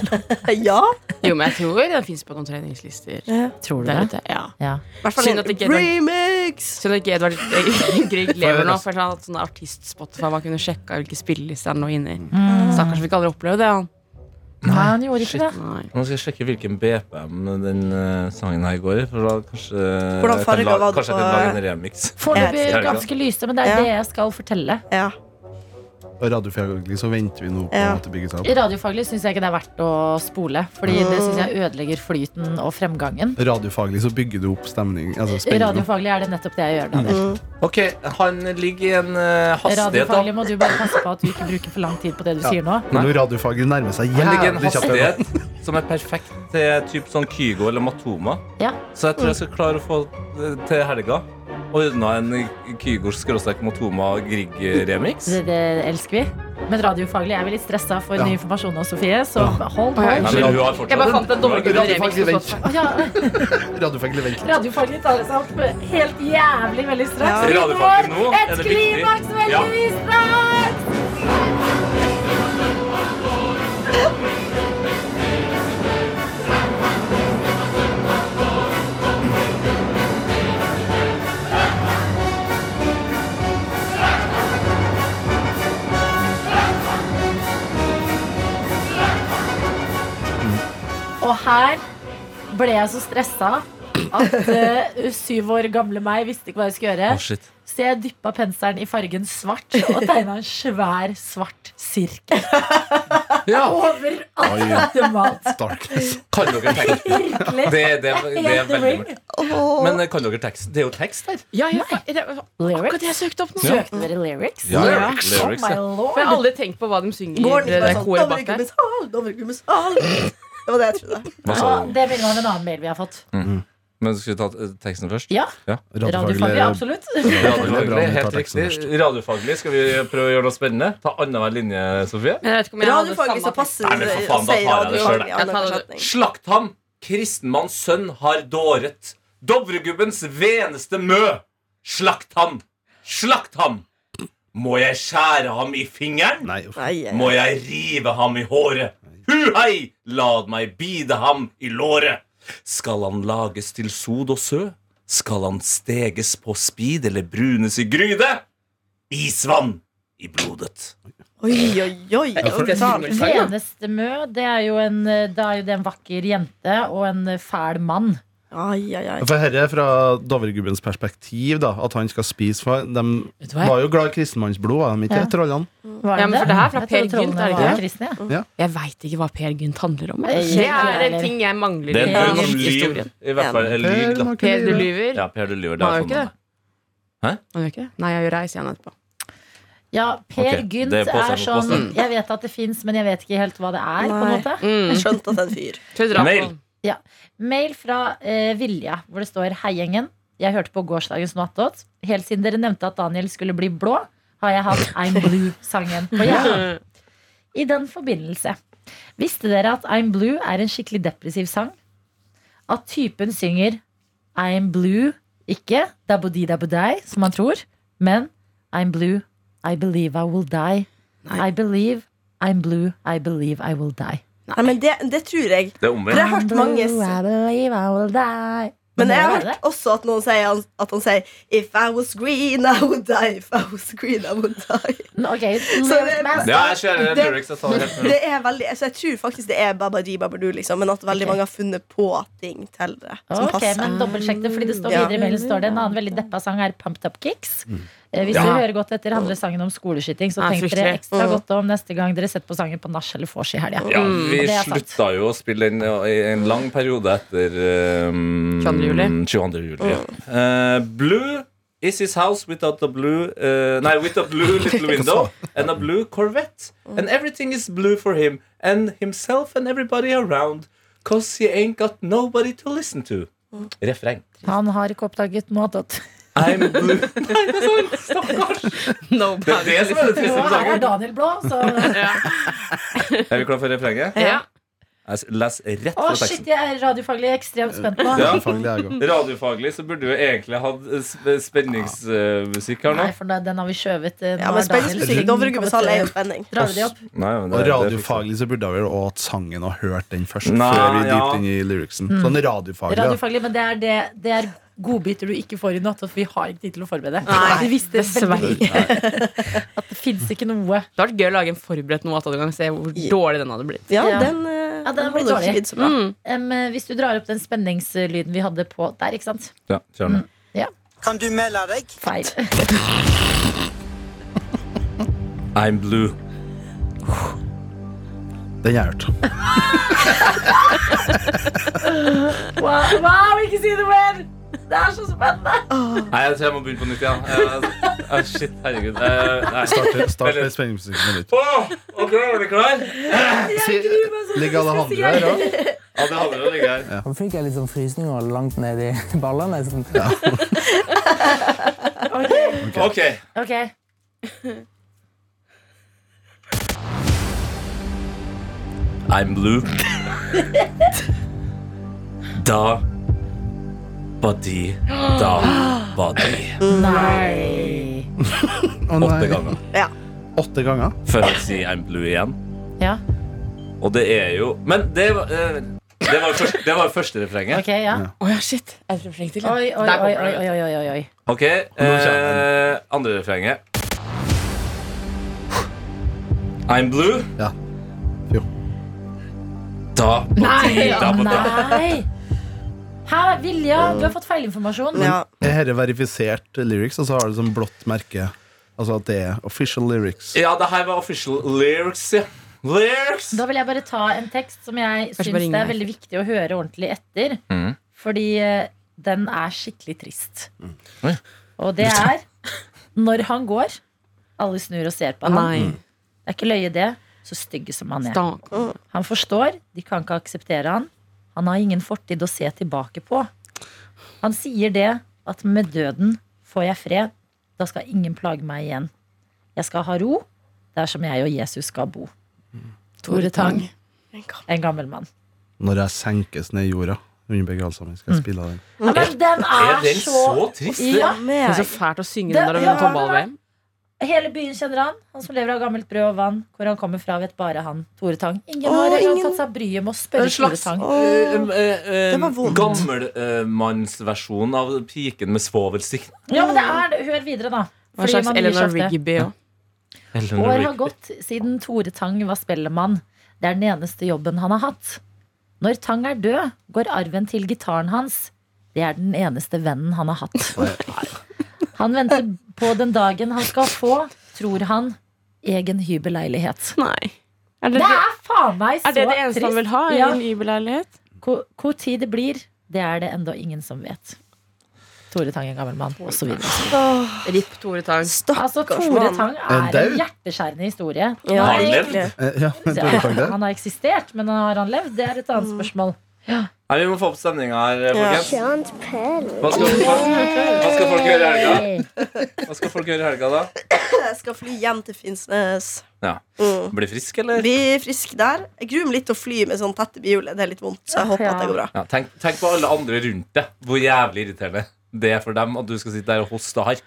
Speaker 4: Ja.
Speaker 5: Jo, men jeg tror den fins på noen treningslister.
Speaker 3: Tror du
Speaker 5: Der
Speaker 3: det?
Speaker 5: ute, ja
Speaker 3: Ja.
Speaker 4: I hvert fall
Speaker 5: Synd
Speaker 4: en
Speaker 5: at det ikke er noen-
Speaker 4: sånn remix!
Speaker 5: Synd at ikke Edvard Grieg lever nå. For han hadde sånne artist-spotify man kunne sjekka hvilke spillelister han lå inne i.
Speaker 4: Mm.
Speaker 5: Stakkars fikk aldri oppleve det. Han.
Speaker 3: Nei, Mm. han gjorde ikke det.
Speaker 5: Shit, nei.
Speaker 2: Nå skal jeg sjekke hvilken BPM den eh, sangen her går i. For da kanskje
Speaker 4: Hvordan
Speaker 2: jeg kan
Speaker 4: farger
Speaker 2: la-
Speaker 4: var det
Speaker 2: Kanskje jeg
Speaker 4: på-
Speaker 2: kan lage en remix.
Speaker 3: Foreløpig
Speaker 2: Ja.
Speaker 3: ganske lyse, men det er
Speaker 4: Ja.
Speaker 3: det jeg skal fortelle.
Speaker 4: Ja.
Speaker 6: Og radiofaglig så venter vi nå på
Speaker 4: Ja.
Speaker 6: at det bygges opp.
Speaker 3: I Radiofaglig syns jeg ikke det er verdt å spole, Fordi det syns jeg ødelegger flyten og fremgangen.
Speaker 6: Radiofaglig så bygger du opp stemning. Altså
Speaker 3: I
Speaker 6: spenning.
Speaker 3: Radiofaglig er det nettopp det jeg gjør. Daniel.
Speaker 5: Mm.
Speaker 2: Ok, han ligger i en eh, hastighet da.
Speaker 3: Radiofaglig må du bare passe på at du ikke bruker for lang tid på det du sier nå.
Speaker 6: Men Når radiofaglig nærmer seg
Speaker 2: Han ligger i en
Speaker 6: jævlig kjapt her nå.
Speaker 2: hastighet som er perfekt til typ sånn Kygo eller Matoma.
Speaker 3: Ja.
Speaker 2: Så jeg tror jeg skal klare å få eh, til helga ordna en Kygo-Matoma-Grieg-remix.
Speaker 3: Det, det elsker vi. Men radiofaglig er vi litt stressa for
Speaker 6: Ja.
Speaker 3: ny informasjon nå, Sofie. Så hold
Speaker 5: Oi,
Speaker 3: hold.
Speaker 5: oi.
Speaker 2: Nei, men hun har
Speaker 5: Jeg
Speaker 2: fortsatt
Speaker 5: bare fant en dommergubbe remix.
Speaker 6: Radiofaglig
Speaker 5: på
Speaker 6: vent.
Speaker 5: Spotify.
Speaker 3: Å, ja.
Speaker 6: Radiofaglig vent.
Speaker 3: Radiofaglig tar det seg opp helt jævlig veldig straks.
Speaker 2: Ja. Radiofaglig nå er
Speaker 3: Et
Speaker 2: det viktig.
Speaker 3: klimaks veldig
Speaker 2: Ja.
Speaker 3: straks! Og her ble jeg så stressa at eh, syv år gamle meg visste ikke hva jeg skulle gjøre.
Speaker 2: Å, shit.
Speaker 3: Så jeg dyppa penselen i fargen svart og tegna en svær svart sirkel
Speaker 2: Ja,
Speaker 3: over alt
Speaker 6: Oi.
Speaker 3: mat.
Speaker 6: Darkness.
Speaker 2: kan dere tekst?
Speaker 3: Virkelig.
Speaker 2: Det, det, det er
Speaker 3: Helt
Speaker 2: veldig
Speaker 3: vilt.
Speaker 2: mørkt. Men eh, kan dere tekst? Det er jo tekst her.
Speaker 5: Ja, ja, fa- det var akkurat det jeg søkte opp nå.
Speaker 3: Søkte dere lyrics?
Speaker 2: Ja, ja.
Speaker 3: Oh
Speaker 2: Lyrics,
Speaker 3: my
Speaker 2: ja.
Speaker 5: For jeg har
Speaker 3: lord.
Speaker 5: aldri tenkt på hva de synger
Speaker 4: Går
Speaker 5: i
Speaker 4: den ikke bare
Speaker 5: det der
Speaker 4: sånn
Speaker 5: koret bak der.
Speaker 4: Dovregubbens hall, Dovregubbens hall? Det var det jeg trodde.
Speaker 2: Hva sa
Speaker 3: Og
Speaker 2: du?
Speaker 3: det minner meg om en annen mail vi har fått.
Speaker 2: Men Skal vi ta eh, teksten først?
Speaker 3: Ja, Radiofaglig,
Speaker 6: Radiofaglig
Speaker 3: absolutt.
Speaker 6: Bra,
Speaker 2: Radiofaglig,
Speaker 6: men ta
Speaker 2: helt
Speaker 6: teksten
Speaker 2: riktig. Radiofaglig skal vi prøve å gjøre noe spennende. Ta annenhver linje, Sofie.
Speaker 5: Men jeg vet ikke om jeg hadde
Speaker 4: Radiofaglig så
Speaker 5: samme-
Speaker 4: passer
Speaker 2: Nei, men for faen, da tar jeg det selv, jeg.
Speaker 5: Jeg tar det.
Speaker 4: anerkjenning.
Speaker 2: Slakt ham! Kristenmanns sønn har dåret. Dovregubbens veneste mø. Slakt ham! Slakt ham! Må jeg skjære ham i fingeren?
Speaker 6: Nei, uff.
Speaker 4: Nei, jeg-
Speaker 2: Må jeg rive ham i håret? Hu hei! La meg bide ham i låret. Skal han lages til sod og sø? Skal han steges på spid eller brunes i gryte? Isvann i blodet.
Speaker 4: Oi, oi, oi. brutal.
Speaker 3: Veneste mø, det er jo en, da er jo det en vakker jente og en fæl mann.
Speaker 4: Ai, ai, ai.
Speaker 6: For herre fra Dovregubbens perspektiv, da, at han skal spise for De
Speaker 5: Vet du hva?
Speaker 6: var jo glad i kristenmannsblod, var de ikke?
Speaker 3: Ja.
Speaker 6: Trollene.
Speaker 3: Var
Speaker 5: Ja, men for det her er fra
Speaker 3: Jeg trodde
Speaker 5: Per Gynt,
Speaker 3: trollene
Speaker 5: er det
Speaker 3: var
Speaker 5: ikke det?
Speaker 3: kristne, ja.
Speaker 5: Jeg veit ikke hva Per Gynt handler om.
Speaker 3: Eh,
Speaker 5: Det
Speaker 3: jeg
Speaker 5: er en
Speaker 3: heller.
Speaker 5: ting jeg mangler
Speaker 2: Det
Speaker 5: i
Speaker 2: er en
Speaker 5: norsk
Speaker 2: som lyver.
Speaker 5: historie.
Speaker 2: I hvert fall en lyv, da.
Speaker 5: Per, du lyver.
Speaker 2: Ja, Per, du lyver.
Speaker 5: Man
Speaker 2: Det
Speaker 5: gjør
Speaker 2: er
Speaker 5: ikke det.
Speaker 2: sånn.
Speaker 5: Han gjør ikke det? Nei, jeg gjør reis igjen etterpå.
Speaker 3: Ja, Per
Speaker 2: Ok,
Speaker 3: Gynt
Speaker 2: det er påstand
Speaker 3: er
Speaker 2: mot
Speaker 3: sånn
Speaker 2: påstand.
Speaker 3: Jeg vet at det fins, men jeg vet ikke helt hva det er. på en
Speaker 4: Nei.
Speaker 3: måte
Speaker 5: Mm.
Speaker 4: Jeg skjønte at det er en fyr.
Speaker 5: Skal vi dra på-
Speaker 2: Mail.
Speaker 3: Mail fra eh, Vilja, hvor det står Hei gjengen, jeg hørte på gårsdagens Noatot. Helt siden dere nevnte at Daniel skulle bli blå, har jeg hatt I'm Blue-sangen på hjernen.
Speaker 5: Mm.
Speaker 3: I den forbindelse, visste dere at I'm Blue er en skikkelig depressiv sang? At typen synger I'm Blue, ikke dabodi dabodei, som man tror, men I'm Blue, I believe I will die.
Speaker 5: Nei.
Speaker 3: I believe I'm blue, I believe I will die.
Speaker 4: Nei, men det, det tror jeg.
Speaker 2: Det er
Speaker 4: For
Speaker 2: omvendt.
Speaker 4: jeg har hørt mange s-
Speaker 3: I believe I will die.
Speaker 4: Men jeg har
Speaker 3: Må det være
Speaker 4: hørt også at noen sier han- at han sier If I was green, I would die. If I was green, I would die.
Speaker 3: Ok,
Speaker 4: Så det-
Speaker 3: men-
Speaker 2: Ja, jeg ser det,
Speaker 4: Det-
Speaker 2: lyrics, jeg tar det helt med ro.
Speaker 4: Det er veldig, altså jeg tror faktisk det er Babaji Babadoo, liksom, men at veldig
Speaker 3: Ok.
Speaker 4: mange har funnet på ting til det som
Speaker 3: Ok,
Speaker 4: passer.
Speaker 3: men dobbeltsjekk det, fordi det står
Speaker 4: Ja.
Speaker 3: videre i mailen står det en annen veldig deppa sang er Pumped Up Kicks. Eh, Hvis du
Speaker 5: Ja.
Speaker 3: hører godt etter, handler sangen om skoleskyting, så
Speaker 5: Ja,
Speaker 3: tenk dere
Speaker 5: fryktelig.
Speaker 3: ekstra
Speaker 4: Mm.
Speaker 3: godt om neste gang dere setter på sangen på nach eller vors i
Speaker 2: Ja,
Speaker 3: helga.
Speaker 2: vi
Speaker 3: Mm, Det er sant.
Speaker 2: slutta jo å spille den i en lang periode etter um,
Speaker 5: 22. juli.
Speaker 2: 22. juli, ja. Eh, blue is his house without a blue eh, Nei, with a blue little window and a blue Corvette.
Speaker 3: Mm.
Speaker 2: And everything is blue for him and himself and everybody around. Cause he ain't got nobody to listen to.
Speaker 3: Mm.
Speaker 2: Refreng.
Speaker 3: Han har ikke oppdaget noe annet.
Speaker 2: I'm blue. Nei, det er sant! Stakkars! Det er det som er det triste
Speaker 3: Og
Speaker 2: med
Speaker 3: her er
Speaker 2: sangen.
Speaker 3: Daniel Blå, så
Speaker 2: Er vi klar for refrenget?
Speaker 5: Ja.
Speaker 2: Jeg Les rett
Speaker 3: Å,
Speaker 2: fra teksten.
Speaker 3: shit, jeg er radiofaglig ekstremt spent nå.
Speaker 2: Ja.
Speaker 6: Faglig jeg også.
Speaker 2: Radiofaglig så burde vi egentlig hatt eh, sp- spenningsmusikk her nå.
Speaker 3: Nei, for da- den har vi skjøvet. eh, nå
Speaker 4: Ja,
Speaker 3: har Daniel
Speaker 4: men spenningsmusikk i Dovregubbens hall er jo
Speaker 3: kommet,
Speaker 4: spenning.
Speaker 3: eh, radiojobb.
Speaker 2: Nei, men det- det
Speaker 6: Og
Speaker 2: fikser vi.
Speaker 6: radiofaglig så burde jeg vel også hatt sangen og hørt den først.
Speaker 2: Nei,
Speaker 6: før vi
Speaker 2: ja.
Speaker 6: dypt inn i lyricsen Sånn radiofaglig. da.
Speaker 3: Radiofaglig, men det er, det, det er godbiter du ikke får i natt, og vi har ikke tid til å forberede.
Speaker 5: Nei,
Speaker 3: vi visste
Speaker 5: dessverre.
Speaker 3: veldig lite. At det fins ikke noe.
Speaker 5: Det hadde vært gøy å lage en forberedt noe og se hvor dårlig den hadde blitt.
Speaker 4: Ja,
Speaker 3: Ja.
Speaker 4: den, eh,
Speaker 3: Ja, den blir
Speaker 4: holder
Speaker 3: dårlig.
Speaker 4: ikke så bra.
Speaker 3: Em, eh, hvis du drar opp den spenningslyden vi hadde på der, ikke sant?
Speaker 2: Ja, kjør nå.
Speaker 8: Kan du melde deg?
Speaker 3: Feil.
Speaker 2: I'm blue.
Speaker 6: Den har jeg hørt.
Speaker 3: Wow, wow, ikke si det mer! Det er så spennende!
Speaker 2: Nei, jeg tror jeg må begynne på nytt igjen. Eh, eh, shit, herregud. Eh, nei.
Speaker 6: Start, start med spenningsmusikken med nytt.
Speaker 2: Åh, ok, er du klar?
Speaker 6: Ligger alle andre her òg?
Speaker 2: Ja, det hadde jo ligget her.
Speaker 9: Nå fikk jeg litt sånn frysninger langt ned i ballene. Sånn.
Speaker 2: Ok.
Speaker 3: Ok,
Speaker 2: I'm blue. Da Badi Da Badi.
Speaker 3: Nei.
Speaker 6: Å
Speaker 2: Åtte
Speaker 6: nei.
Speaker 2: ganger.
Speaker 6: Åtte ganger?
Speaker 2: Før jeg sier I'm blue igjen.
Speaker 3: Ja,
Speaker 2: Og det er jo Men det var eh, Det var jo første, det var jo første refrenget.
Speaker 3: ok, ja.
Speaker 5: Å ja, shit. Jeg tror jeg trenger til.
Speaker 3: Oi, oi, oi,
Speaker 5: Der kommer
Speaker 3: oi,
Speaker 5: det.
Speaker 3: oi, oi, oi, oi.
Speaker 2: Ok,
Speaker 6: kommer
Speaker 2: eh, andre refrenget. I'm blue.
Speaker 6: Ja. Jo.
Speaker 2: Da på ti, da på da.
Speaker 3: Nei! Hæ, Vilja, du har fått feilinformasjon.
Speaker 4: Ja.
Speaker 6: Er dette verifisert lyrics, og så har det sånn blått merke? Altså at det er official lyrics.
Speaker 2: Ja, det her var official lyrics, ja. Lyrics!
Speaker 3: Da vil jeg bare ta en tekst som jeg
Speaker 5: Kanskje bare
Speaker 3: syns det
Speaker 5: ringe
Speaker 3: er veldig viktig å høre ordentlig etter.
Speaker 2: Mhm.
Speaker 3: Fordi eh, den er skikkelig trist.
Speaker 2: Oi.
Speaker 3: Og det er når han går, alle snur og ser på ham.
Speaker 5: Nei.
Speaker 2: Mm.
Speaker 3: Det er ikke løye, det. Så stygge som han er.
Speaker 5: Stank.
Speaker 3: Han forstår, de kan ikke akseptere han. Han har ingen fortid å se tilbake på. Han sier det at med døden får jeg fred. Da skal ingen plage meg igjen. Jeg skal ha ro der som jeg og Jesus skal bo. Tore Tang. En gammel mann.
Speaker 6: Når jeg senkes ned i jorda under begravelsen, skal jeg spille den.
Speaker 3: Ja, men den
Speaker 2: Er
Speaker 3: er
Speaker 2: den
Speaker 3: så
Speaker 2: så trist?
Speaker 3: ja,
Speaker 5: Det
Speaker 4: Med
Speaker 5: er så fælt å synge
Speaker 3: Det-
Speaker 5: den der
Speaker 3: ja,
Speaker 5: under håndball-VM.
Speaker 3: Hele byen kjenner han. Han som lever av gammelt brød og vann. Hvor han kommer fra, vet bare han. Tore Tang. Ingen
Speaker 4: Å,
Speaker 3: har
Speaker 4: ingen-
Speaker 3: tatt seg bryet
Speaker 2: En
Speaker 3: med å spørre Tore
Speaker 2: slags
Speaker 3: Tang.
Speaker 2: Eh,
Speaker 4: Det var vondt.
Speaker 2: gammelmannsversjon eh, av piken med svovelsikt.
Speaker 3: Ja, men det er det. Hør videre, da.
Speaker 5: Mm. Hva slags
Speaker 3: man blir så
Speaker 5: Eleanor
Speaker 3: ofte-
Speaker 5: Rigby òg.
Speaker 2: Eleanor
Speaker 3: År har
Speaker 2: Rigby.
Speaker 3: gått siden Tore Tang var spellemann. Det er den eneste jobben han har hatt. Når Tang er død, går arven til gitaren hans. Det er den eneste vennen han har hatt. Han venter på den dagen han skal få, tror han, egen hybelleilighet.
Speaker 5: Nei. Er det
Speaker 3: Det
Speaker 5: det,
Speaker 3: er faen meg så
Speaker 5: er det det eneste han vil ha? i
Speaker 3: Ja.
Speaker 5: En hybelleilighet?
Speaker 3: Hvor, hvor tid det blir, det er det enda ingen som vet. Tore Tang er en gammel mann, osv.
Speaker 5: Ripp Tore Tang.
Speaker 3: Altså,
Speaker 4: Stakkars
Speaker 3: Tore
Speaker 4: mann.
Speaker 3: Tang
Speaker 6: Er han
Speaker 3: er
Speaker 6: dau?
Speaker 3: en hjerteskjærende historie.
Speaker 4: Ja,
Speaker 2: Har han levd?
Speaker 4: egentlig.
Speaker 6: Eh, Ja, men
Speaker 3: Ja,
Speaker 6: Tore Tang det?
Speaker 3: han har eksistert, men har han levd? Det er et
Speaker 4: Mm.
Speaker 3: annet spørsmål.
Speaker 2: Nei, vi må få opp stemninga her, folkens.
Speaker 10: Kjent pell.
Speaker 2: Hva skal, hva skal folk gjøre i helga? Hva skal folk gjøre i helga, da?
Speaker 4: Jeg skal fly hjem til Finnsnes.
Speaker 2: Ja.
Speaker 4: Mm.
Speaker 2: Bli frisk, eller?
Speaker 4: Bli frisk der. Jeg gruer meg litt til å fly med sånn tette bihule. Det er litt vondt, så jeg håper at det går bra.
Speaker 2: Ja, tenk, tenk på alle andre rundt deg. Hvor jævlig irriterende. det er for dem at du skal sitte der og hoste hardt.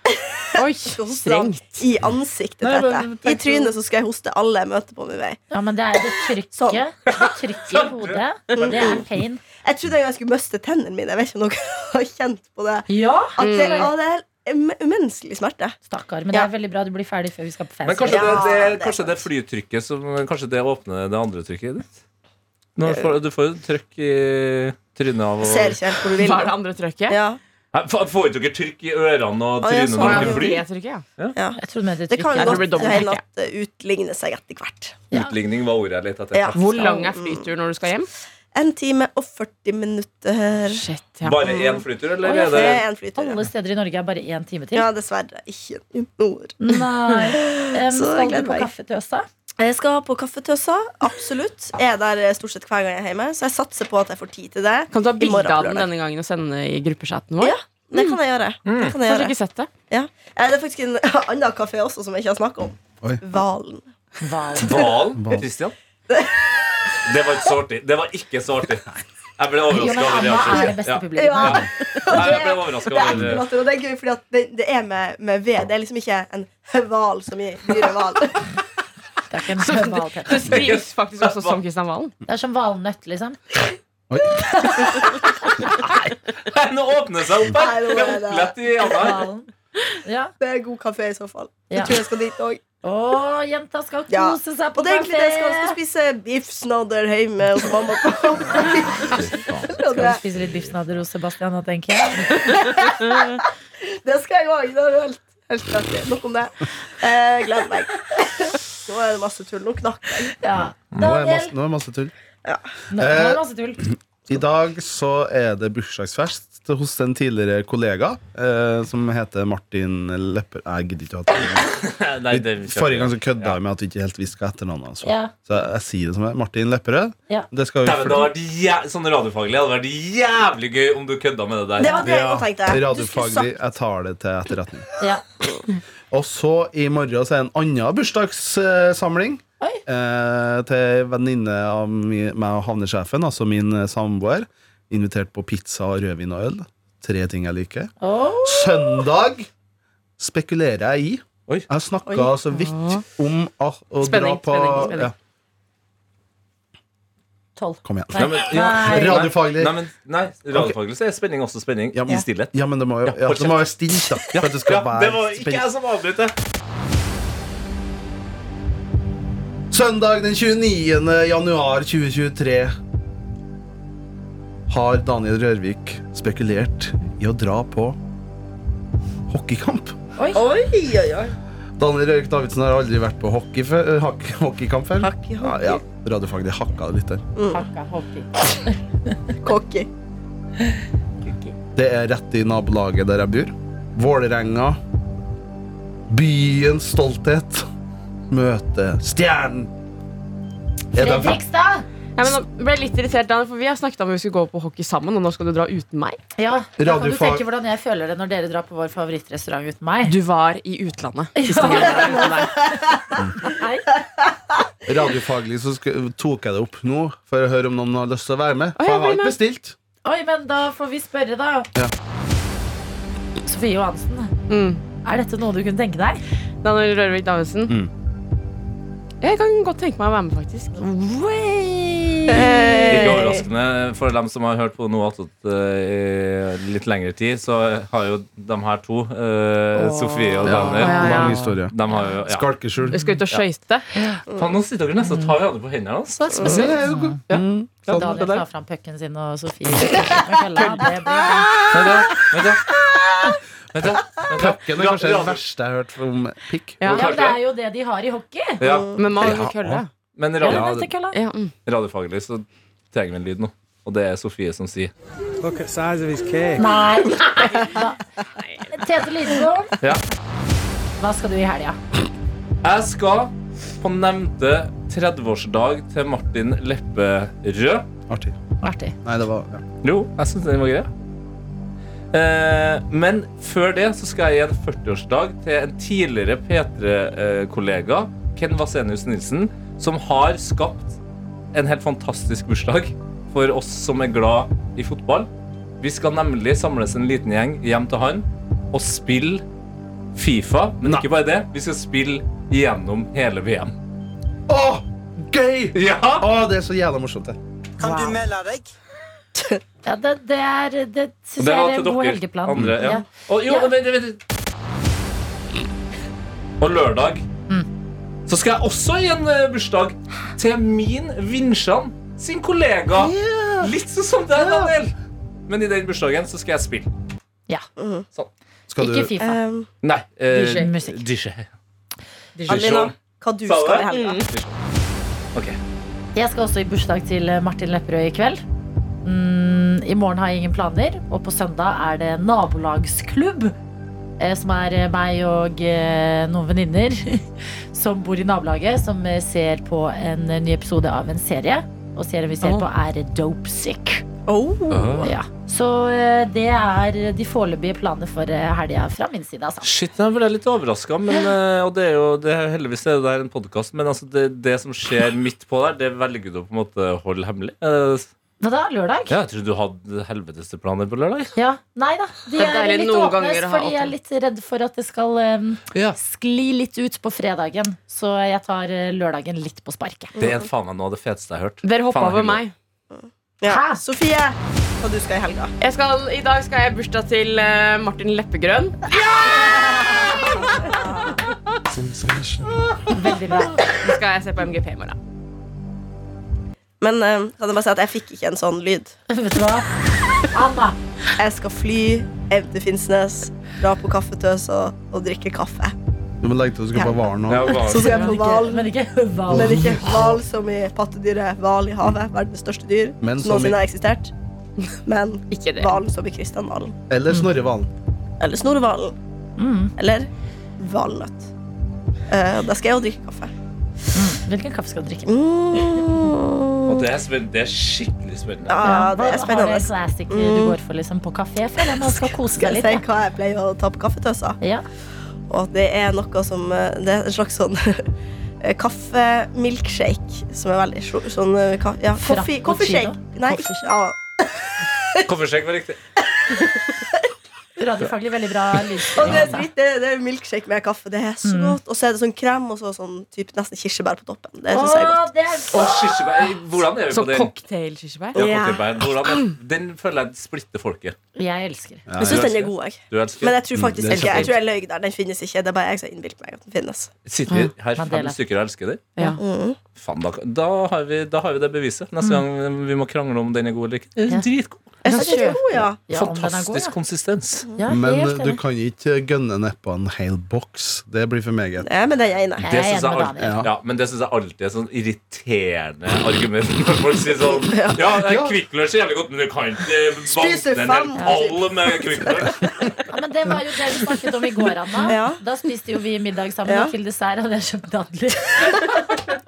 Speaker 5: Oi,
Speaker 4: skal hoste han i ansiktet til dette. I trynet så skal jeg hoste alle jeg møter på min vei.
Speaker 3: Ja, men det er det trykket. Det trykket i hodet. Det er pain.
Speaker 4: Jeg trodde en gang jeg skulle miste tennene mine. Jeg vet ikke om dere har kjent på det.
Speaker 3: Ja,
Speaker 4: At det,
Speaker 5: Mm.
Speaker 4: ja, det er em- umenneskelig smerte.
Speaker 3: stakkar. Men det er veldig bra du blir ferdig før vi skal på
Speaker 2: Men
Speaker 3: fancy.
Speaker 2: kanskje, det,
Speaker 4: Ja,
Speaker 2: det,
Speaker 4: det er
Speaker 2: kanskje det flytrykket som Kanskje det åpner det andre trykket ditt? Nå får, du får jo trykk i trynet av og
Speaker 4: Ser ikke helt hvor du vil.
Speaker 5: hva er det andre trykket?
Speaker 4: Ja.
Speaker 2: Nei, fa- Får ikke dere trykk i ørene og
Speaker 4: Å, ja,
Speaker 2: trynet
Speaker 4: sånn,
Speaker 2: når
Speaker 5: Hva er
Speaker 2: dere
Speaker 5: det
Speaker 2: flyr?
Speaker 5: andre trykket, ja?
Speaker 3: Jeg trodde du mente
Speaker 4: Det kan
Speaker 5: Jeg
Speaker 4: jo
Speaker 5: tror det blir
Speaker 4: godt
Speaker 5: dobbelt,
Speaker 4: hende
Speaker 5: ikke?
Speaker 4: at det utligner seg etter hvert.
Speaker 2: Utligning var ordet jeg lette etter.
Speaker 4: Ja.
Speaker 5: Hvor lang er flytur når du skal hjem?
Speaker 4: En time og 40 minutter.
Speaker 5: Shit, ja.
Speaker 2: Bare én flytur, eller
Speaker 4: Det
Speaker 2: er det
Speaker 4: er en flytur.
Speaker 3: Alle
Speaker 4: Ja.
Speaker 3: steder i Norge er bare én time til.
Speaker 4: ja, dessverre. Ikke i nord.
Speaker 3: Nei. Em,
Speaker 4: Så
Speaker 3: skal du
Speaker 4: gleder
Speaker 3: på
Speaker 4: meg.
Speaker 3: kaffetøsa?
Speaker 4: Jeg skal på Kaffetøsa. Absolutt. Jeg er der stort sett hver gang jeg er hjemme, så jeg satser på at jeg får tid til det.
Speaker 5: Kan du ta
Speaker 4: I morgen
Speaker 5: bilde av
Speaker 4: på
Speaker 5: den
Speaker 4: lørdag.
Speaker 5: denne gangen og sende i gruppechatten vår?
Speaker 4: Ja, Det kan jeg gjøre. Det kan jeg
Speaker 5: Kanskje
Speaker 4: gjøre.
Speaker 5: ikke sett det?
Speaker 4: Ja. Eh, Det er faktisk en annen kafé også som jeg ikke har snakket om.
Speaker 6: Oi.
Speaker 4: Valen.
Speaker 2: Hvalen?
Speaker 6: Hval.
Speaker 2: Christian? Det var ikke så artig. Det var ikke så artig. Jeg ble overraska
Speaker 3: Jonna
Speaker 2: over
Speaker 3: Anna er det
Speaker 2: reaksjonen.
Speaker 3: beste
Speaker 2: Ja.
Speaker 3: publikum.
Speaker 4: Ja.
Speaker 3: her.
Speaker 2: Nei, Jeg ble overrasket
Speaker 4: Det er
Speaker 2: over
Speaker 4: ekkelnatter, og det er gøy, fordi at det, det er med, med ved. Det er liksom ikke en hval som i dyre hval.
Speaker 3: Det er ikke en verbal tett.
Speaker 5: Det skrives faktisk også som Kristian Valen.
Speaker 3: Det er som valnøtt, liksom.
Speaker 6: Oi.
Speaker 2: Nei, Nå åpner det seg opp her!
Speaker 4: Nei, nå
Speaker 2: Det
Speaker 4: er
Speaker 2: er
Speaker 4: det-
Speaker 2: opplett i Anna her.
Speaker 3: Valen. Ja.
Speaker 4: Det er god kafé i så fall.
Speaker 3: Ja.
Speaker 4: Jeg tror jeg skal dit òg.
Speaker 3: Å, jenta skal kose
Speaker 4: Ja.
Speaker 3: seg
Speaker 4: Og
Speaker 3: på
Speaker 4: det er egentlig det jeg skal. Jeg skal
Speaker 3: kafé!
Speaker 4: spise biff snadder hjemme hos mamma. Og
Speaker 3: Skal
Speaker 4: det,
Speaker 3: du spise litt biffsnadder hos Sebastian nå, tenker jeg?
Speaker 4: det skal jeg òg. Det er helt, helt rett. i. Nok om det. Eh, gleder meg. Nå er det masse tull. Nå knakk jeg.
Speaker 3: Ja.
Speaker 6: Nå er
Speaker 3: Daniel,
Speaker 6: masse, nå er masse tull.
Speaker 3: nå er
Speaker 6: Eh.
Speaker 3: det masse tull.
Speaker 6: I dag så er det bursdagsfest hos en tidligere kollega eh, som heter Martin Lepper... Nei, Jeg gidder ikke å ha det.
Speaker 2: Nei, det
Speaker 6: Vi- Forrige gang så kødda jeg med at vi ikke helt visste hva etternavnet hans var.
Speaker 3: Ja.
Speaker 6: Så jeg, jeg sier det som er. Martin Lepperød.
Speaker 3: Ja.
Speaker 6: Det skal vi
Speaker 2: Nei, men det hadde vært jæ- Sånn radiofaglig hadde vært jævlig gøy om du kødda med det
Speaker 4: Det
Speaker 2: der.
Speaker 4: var det jeg òg tenkte. Du skulle
Speaker 6: Radiofaglig.
Speaker 4: sagt
Speaker 6: Jeg tar det til etterretning.
Speaker 3: Ja.
Speaker 6: Og så i morgen så er det en annen bursdagssamling.
Speaker 3: Oi.
Speaker 6: Eh, til en venninne av mi- meg og havnesjefen, altså min eh, samboer. Invitert på pizza og rødvin og øl. Tre ting jeg liker.
Speaker 3: Å,
Speaker 6: Søndag spekulerer jeg i.
Speaker 2: Oi.
Speaker 6: Jeg snakka så vidt om å, å dra
Speaker 5: Spenning,
Speaker 6: på
Speaker 5: spenning, spenning.
Speaker 6: Ja,
Speaker 3: tolv.
Speaker 6: Kom igjen.
Speaker 2: Nei, men,
Speaker 3: Nei.
Speaker 6: Radiofaglig.
Speaker 2: Nei, men, nei, radiofaglig så er spenning også spenning
Speaker 6: Ja, men-
Speaker 2: i stillhet.
Speaker 6: Ja, men det må jo ja,
Speaker 2: hold
Speaker 6: det må være stilt, da. For at det skal
Speaker 2: Ja, det var
Speaker 6: være
Speaker 2: ikke
Speaker 6: spenning.
Speaker 2: jeg som avbrøt det.
Speaker 6: Søndag den 29. januar 2023 har Daniel Rørvik spekulert i å dra på hockeykamp.
Speaker 4: Oi, oi, oi.
Speaker 6: Daniel Rørvik Davidsen har aldri vært på hockey før, eh, hak- hockeykamp før.
Speaker 4: Hockey, hockey.
Speaker 6: Ja, ja. Radiofaglig hakka det litt der.
Speaker 3: Hakka hockey.
Speaker 4: Cocky.
Speaker 6: Det er rett i nabolaget der jeg bor. Vålerenga. Byens stolthet møter Stjernen. Er det-
Speaker 3: Fredrikstad!
Speaker 5: Ja, men nå ble jeg litt irritert, Daniel, for Vi har snakket om at vi skulle gå på hockey sammen, og nå skal du dra uten meg.
Speaker 3: Ja, da kan du
Speaker 6: Radiofag-
Speaker 3: tenke hvordan jeg føler det når dere drar på vår favorittrestaurant uten meg.
Speaker 5: Du var i utlandet.
Speaker 6: Radiofaglig så sk- tok jeg det opp nå for å høre om noen har lyst til å være med.
Speaker 5: Å,
Speaker 6: For
Speaker 5: ja,
Speaker 6: jeg har
Speaker 5: bli
Speaker 6: ikke
Speaker 5: med.
Speaker 6: bestilt.
Speaker 3: Oi, men da får vi spørre, da.
Speaker 6: Ja.
Speaker 3: Sofie Johansen,
Speaker 5: Mm.
Speaker 3: er dette noe du kunne tenke deg?
Speaker 5: Daniel Rørvik Davidsen.
Speaker 6: Mm.
Speaker 5: Jeg kan godt tenke meg å være med, faktisk.
Speaker 2: Ikke
Speaker 5: Hey.
Speaker 2: overraskende. For dem som har hørt på noe annet eh, i litt lengre tid, så har jo de her to, eh, Sofie og Daniel
Speaker 5: Ja, ja, ja.
Speaker 6: Lang historie.
Speaker 2: De har jo ja.
Speaker 6: Skalkeskjul.
Speaker 5: Vi skal ut og skøyte.
Speaker 2: Faen, nå sitter dere nesten og tar hverandre på hendene. Altså.
Speaker 3: Daniel tar fram pucken sin, og Sofie La det bli.
Speaker 2: Vent, da. Vent, da. Vent, da.
Speaker 6: Pucken er kanskje
Speaker 2: Ja,
Speaker 6: det
Speaker 2: ja.
Speaker 6: verste jeg har hørt om pikk.
Speaker 5: Ja.
Speaker 3: Ja, men det er jo det de har i hockey.
Speaker 2: Ja.
Speaker 5: Men man
Speaker 6: Ja.
Speaker 5: må kølle.
Speaker 2: Men
Speaker 3: Ja,
Speaker 2: radio,
Speaker 3: dette kølla.
Speaker 5: Ja, mm.
Speaker 2: radiofaglig så trenger vi en lyd nå. Og det er Sofie som sier
Speaker 8: Look at size of his
Speaker 2: Eh.
Speaker 8: cake.
Speaker 3: Nei. Da- Tete Lidbom,
Speaker 2: Ja.
Speaker 3: hva skal du i helga?
Speaker 2: Jeg skal på nevnte 30-årsdag til Martin Lepperød.
Speaker 6: Artig.
Speaker 3: Artig.
Speaker 6: Nei, det var ja.
Speaker 2: Jo, jeg syns den var grei. Eh, men før det så skal jeg gi en 40-årsdag til en tidligere P3-kollega, Ken Vasenius Nilsen, som har skapt en helt fantastisk bursdag for oss som er glad i fotball. Vi skal nemlig samles en liten gjeng hjem til han og spille Fifa. Men ikke bare det, vi skal spille gjennom hele VM.
Speaker 6: Å, gøy!
Speaker 2: Ja!
Speaker 6: Å, det er så jævla morsomt, det.
Speaker 3: Ja, det, det er Det
Speaker 2: Og
Speaker 3: syns jeg er en god helgeplan.
Speaker 2: Andre, ja.
Speaker 3: Ja.
Speaker 2: Og, jo,
Speaker 3: Ja.
Speaker 2: vent, vent, vent. og lørdag
Speaker 3: Mm.
Speaker 2: så skal jeg også i en eh, bursdag til min Vinsjan sin kollega. Litt sånn som deg, Daniel. Men i den bursdagen så skal jeg spille.
Speaker 3: Ja.
Speaker 6: Skal
Speaker 3: Ikke
Speaker 6: du
Speaker 3: Fifa.
Speaker 4: Um,
Speaker 2: Nei. eh,
Speaker 3: DJ. Musikk.
Speaker 2: DJ.
Speaker 4: Adelina, hva du
Speaker 2: Sa du
Speaker 4: skal i
Speaker 2: det?
Speaker 4: helga?
Speaker 2: Ok.
Speaker 3: Jeg skal også i bursdag til eh, Martin Lepperød i kveld. Mm, I morgen har jeg ingen planer, og på søndag er det nabolagsklubb. eh, Som er eh, meg og eh, noen venninner som bor i nabolaget, som eh, ser på en eh, ny episode av en serie. Og serien vi ser på, er Dope Sick. Ja. Så eh, det er de foreløpige planene for eh, helga fra min side. Altså.
Speaker 2: Shit, jeg ble litt overraska, og det er jo det er, heldigvis er det der en podkast. Men altså, det, det som skjer midt på der, det velger du å på en måte holde hemmelig. Eh,
Speaker 3: Hva da? Lørdag?
Speaker 2: Ja, jeg trodde du hadde helveteste planer på lørdag.
Speaker 3: Ja. Nei da. De
Speaker 5: Det er
Speaker 3: er,
Speaker 5: deilig
Speaker 3: litt
Speaker 5: noen
Speaker 3: åpne,
Speaker 5: ganger å ha
Speaker 3: fordi jeg er
Speaker 5: åpent.
Speaker 3: litt redd for at det skal eh,
Speaker 2: Ja.
Speaker 3: skli litt ut på fredagen. Så jeg tar eh, lørdagen litt på sparket.
Speaker 2: Det er faen meg noe av det feteste jeg har hørt.
Speaker 5: Dere hoppa
Speaker 2: Faen,
Speaker 5: over
Speaker 2: hyggelig.
Speaker 5: meg.
Speaker 4: Ja.
Speaker 3: Hæ?
Speaker 4: Sofie, hva du skal i helga?
Speaker 5: Jeg skal, I dag skal jeg i bursdag til eh, Martin Leppegrønn.
Speaker 3: Veldig bra.
Speaker 5: Så skal jeg se på MGP i morgen.
Speaker 4: Men eh, kan jeg bare si at jeg fikk ikke en sånn lyd.
Speaker 3: Vet du hva? Anna,
Speaker 4: Jeg skal fly hjem til Finnsnes, dra på kaffetøs og, og drikke kaffe.
Speaker 6: Du må legge til at du skal på Varen nå.
Speaker 2: Ja, bare-
Speaker 4: Så skal jeg
Speaker 3: men
Speaker 4: på
Speaker 3: ikke,
Speaker 4: hval.
Speaker 3: men ikke hval.
Speaker 4: Men ikke hval som i pattedyret hval i havet, verdens største dyr
Speaker 6: Men
Speaker 4: som
Speaker 6: som i-
Speaker 4: noensinne har eksistert. Men
Speaker 5: Ikke det.
Speaker 4: hvalen som i Kristian Valen.
Speaker 6: Eller Snorre Valen.
Speaker 4: Eller Snorrevalen. Eller valnøtt. Eh, da skal jeg jo drikke kaffe.
Speaker 3: Hvilken kaffe skal du drikke?
Speaker 2: Og
Speaker 4: Mm.
Speaker 2: det er, spen- det er skikkelig spennende.
Speaker 4: Ja, det
Speaker 3: hva
Speaker 4: er
Speaker 3: Har
Speaker 4: spennende. Mm.
Speaker 3: du en classic du går for liksom, på kafé? Jeg Føler jeg man skal kose
Speaker 4: Skal
Speaker 3: seg
Speaker 4: jeg
Speaker 3: litt. da.
Speaker 4: si hva jeg pleier å ta på kaffetøsa?
Speaker 3: Ja.
Speaker 4: Og at det er noe som eh, Det er en slags sånn eh, kaffemilkshake som er veldig sjo- sånn eh, ka- ja, koffe-
Speaker 3: Frappuccino?
Speaker 4: Koffeshake. Nei, ikke ja,
Speaker 2: Koffersjekk var riktig.
Speaker 3: Radiofaglig veldig bra
Speaker 4: Og det er
Speaker 3: lydstyring.
Speaker 4: dritt, det, det er milkshake med kaffe. Det er så godt. Og så er det sånn krem og så sånn typ, nesten kirsebær på toppen. Det synes jeg er godt.
Speaker 3: Å, det er
Speaker 2: Å, kirsebær. Hvordan er vi
Speaker 5: Så
Speaker 2: på den?
Speaker 5: cocktail-kirsebær.
Speaker 2: Ja,
Speaker 4: Ja.
Speaker 2: cocktailbær. Hvordan er, den føler jeg splitter folket.
Speaker 3: Jeg elsker.
Speaker 4: Jeg synes den er god, jeg.
Speaker 2: Du elsker
Speaker 4: Men jeg tror faktisk
Speaker 6: Mm, det er
Speaker 4: ikke Jeg tror jeg løy der. Den finnes ikke. Det er bare jeg som innbiller meg at den finnes.
Speaker 2: Sitter vi
Speaker 3: Mm.
Speaker 2: her fem
Speaker 3: Mandela.
Speaker 2: stykker og elsker den?
Speaker 5: Ja.
Speaker 2: Mm. Faen, da, da, har vi, da har vi det beviset. Neste gang vi må krangle om den er god eller ikke. Den er
Speaker 3: Mm. Ja.
Speaker 2: Dritgod.
Speaker 4: Jeg synes den er god, ja.
Speaker 3: Ja, om den er god,
Speaker 2: Fantastisk konsistens.
Speaker 3: ja. Ja,
Speaker 6: Men
Speaker 3: helt
Speaker 6: du
Speaker 3: enig.
Speaker 6: kan ikke gønne nedpå en hel boks. Det blir for meget.
Speaker 4: Nei, men den er inne.
Speaker 3: Jeg
Speaker 2: Det
Speaker 3: er
Speaker 2: syns jeg,
Speaker 3: enig med
Speaker 2: alltid-
Speaker 3: Daniel.
Speaker 2: ja. men det synes jeg alltid er sånn irriterende argument når folk sier sånn Ja, Kvikk Lunsj er jævlig godt, men du kan ikke
Speaker 4: Spise
Speaker 2: vanne en hel
Speaker 4: fem.
Speaker 2: pall med Kvikk Lunsj.
Speaker 3: Ja, men det var jo det vi snakket om i går, Anna.
Speaker 4: Ja.
Speaker 3: Da spiste jo vi middag sammen,
Speaker 4: Ja.
Speaker 3: og til dessert hadde jeg kjøpt dadler.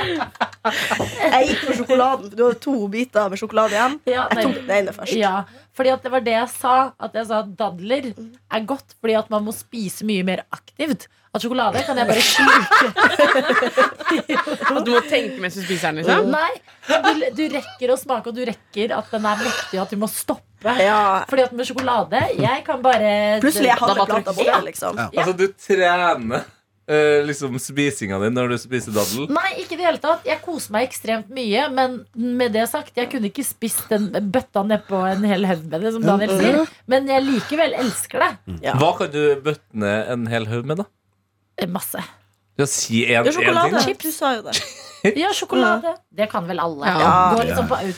Speaker 4: Jeg gikk for sjokoladen. for Du hadde to biter med sjokolade igjen.
Speaker 3: Ja,
Speaker 4: Jeg tok den ene først.
Speaker 3: ja, fordi at det var det jeg sa. At jeg sa at dadler er godt fordi at man må spise mye mer aktivt. At sjokolade kan jeg bare sluke.
Speaker 5: Og du må tenke mens du spiser den. liksom
Speaker 3: Nei, du, du rekker å smake, og du rekker at den er mektig, og at du må stoppe.
Speaker 4: Ja.
Speaker 3: Fordi at med sjokolade Jeg kan bare
Speaker 4: Plutselig jeg
Speaker 3: Da
Speaker 4: hadde
Speaker 3: bare
Speaker 4: plata
Speaker 3: trykker-
Speaker 4: borte, liksom.
Speaker 6: Ja.
Speaker 2: Altså, du trener eh, liksom spisinga di når du spiser daddel.
Speaker 3: Nei, ikke i det hele tatt. Jeg koser meg ekstremt mye. Men med det sagt, jeg kunne ikke spist den bøtta nedpå en hel haug med det, som Daniel sier. Men jeg likevel elsker det.
Speaker 2: Hva kan du bøtte ned en hel haug med, da?
Speaker 3: Masse.
Speaker 2: Ja, si en,
Speaker 4: Ja,
Speaker 2: en
Speaker 4: sjokolade.
Speaker 2: ting.
Speaker 4: Du sa jo det.
Speaker 3: Ja, sjokolade. Det kan vel alle.
Speaker 5: Ja.
Speaker 3: Går liksom på
Speaker 5: Spesielt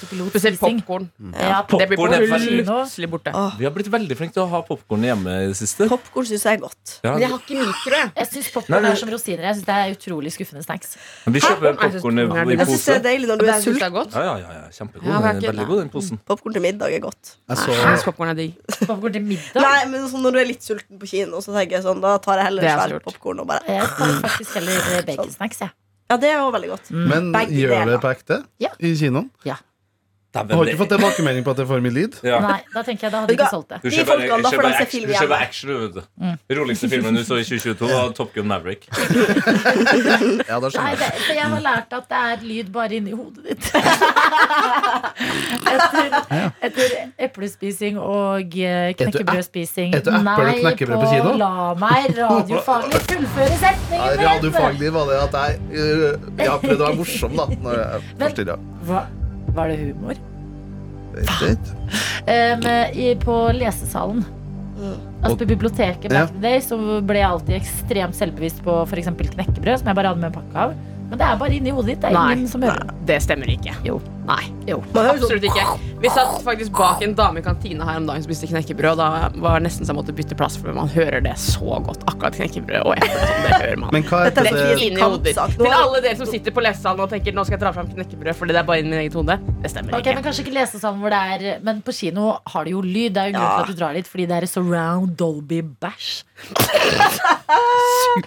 Speaker 3: autopilotspising.
Speaker 5: popkorn.
Speaker 3: Ja,
Speaker 5: Det blir
Speaker 2: Popcorn er
Speaker 5: plutselig
Speaker 2: ferdig.
Speaker 5: plutselig borte.
Speaker 2: Vi har blitt veldig flinke til å ha popkorn hjemme i det siste.
Speaker 4: Popkorn syns jeg er godt.
Speaker 2: Ja,
Speaker 5: Men jeg har ikke mikro, jeg.
Speaker 3: jeg syns
Speaker 2: Nei,
Speaker 3: popkorn
Speaker 2: men-
Speaker 3: er som rosiner. Jeg synes Det er utrolig skuffende snacks.
Speaker 2: vi kjøper popkorn i, i
Speaker 4: Jeg syns det
Speaker 2: pose.
Speaker 4: er deilig når du er
Speaker 5: Det syns jeg
Speaker 4: sulten.
Speaker 5: er godt.
Speaker 2: Ja, ja, ja, ja. Kjempegod. Den
Speaker 5: Ja, det
Speaker 2: er
Speaker 5: er ikke-
Speaker 2: veldig god, den posen.
Speaker 4: Popkorn til middag er godt.
Speaker 6: Jeg
Speaker 5: Jeg synes
Speaker 6: så
Speaker 5: popcorn er digg.
Speaker 3: Popkorn til middag.
Speaker 4: Nei, men sånn når du er litt sulten på kino, så tenker jeg sånn, da tar jeg heller
Speaker 5: Det er
Speaker 4: en svær
Speaker 5: lurt.
Speaker 4: popkorn og bare
Speaker 3: Jeg tar faktisk heller eh, baconsnacks, jeg.
Speaker 4: Ja, det er jo veldig godt.
Speaker 6: Men
Speaker 4: Begge
Speaker 6: gjør
Speaker 4: deler.
Speaker 6: det på ekte?
Speaker 3: Ja.
Speaker 6: I kinoen?
Speaker 3: Ja.
Speaker 6: Jeg har
Speaker 2: Dæven,
Speaker 6: ikke fått tilbakemelding på at det får mye lyd.
Speaker 2: ja.
Speaker 3: Nei, da tenker jeg da hadde jeg ikke solgt det.
Speaker 2: Du
Speaker 4: De
Speaker 2: ser bare,
Speaker 4: folkene,
Speaker 2: ser
Speaker 4: da får de
Speaker 2: bare
Speaker 4: se
Speaker 2: action-
Speaker 4: film
Speaker 2: du ser
Speaker 4: igjen.
Speaker 2: bare action ut. Roligste filmen du så i 2022, var Top Gun Maverick.
Speaker 6: Ja,
Speaker 3: Nei,
Speaker 6: da skjønner jeg.
Speaker 3: det, for jeg har lært at det er lyd bare inni hodet ditt. etter, etter eplespising og eh,
Speaker 6: du
Speaker 3: knekkebrødspising.
Speaker 6: et- et du eple og knekkebrød på kino?
Speaker 3: la meg radiofaglig fullføre
Speaker 6: Nei,
Speaker 3: setningen
Speaker 6: Radiofaglig var det at jeg, øh, jeg har prøvd å være morsom, da. Når jeg
Speaker 3: Men-
Speaker 6: forstyrra.
Speaker 3: Hva, var det humor?
Speaker 6: Greit.
Speaker 3: Em, Eh, i, på lesesalen. Altså På biblioteket back
Speaker 6: Ja.
Speaker 3: in the day Så ble jeg alltid ekstremt selvbevisst på for eksempel knekkebrød, som jeg bare hadde med en pakke av. Men det er bare inni hodet ditt. Det er
Speaker 5: Nei.
Speaker 3: ingen som hører.
Speaker 5: Det stemmer ikke.
Speaker 3: Jo.
Speaker 5: Nei,
Speaker 4: Man hører sånn
Speaker 5: absolutt ikke. Vi satt faktisk bak en dame i kantina her om dagen som spiste knekkebrød. og Da var det nesten så jeg måtte bytte plass, for man hører det så godt. Akkurat knekkebrød og eple. og sånn, Det hører man.
Speaker 6: Men hva
Speaker 4: Dette
Speaker 6: heter
Speaker 4: er
Speaker 6: det
Speaker 4: fint.
Speaker 5: Inn i hodet ditt.
Speaker 4: Kampsak. Nå-
Speaker 5: Til alle dere som sitter på lesesalen og tenker nå skal jeg dra fram knekkebrød, fordi det er bare inni mitt eget hode. Det stemmer
Speaker 3: Ok, men Kanskje ikke lesesalen hvor det er Men på kino har det jo lyd. Det er jo grunn til at du drar dit, fordi det er surround Dolby bæsj.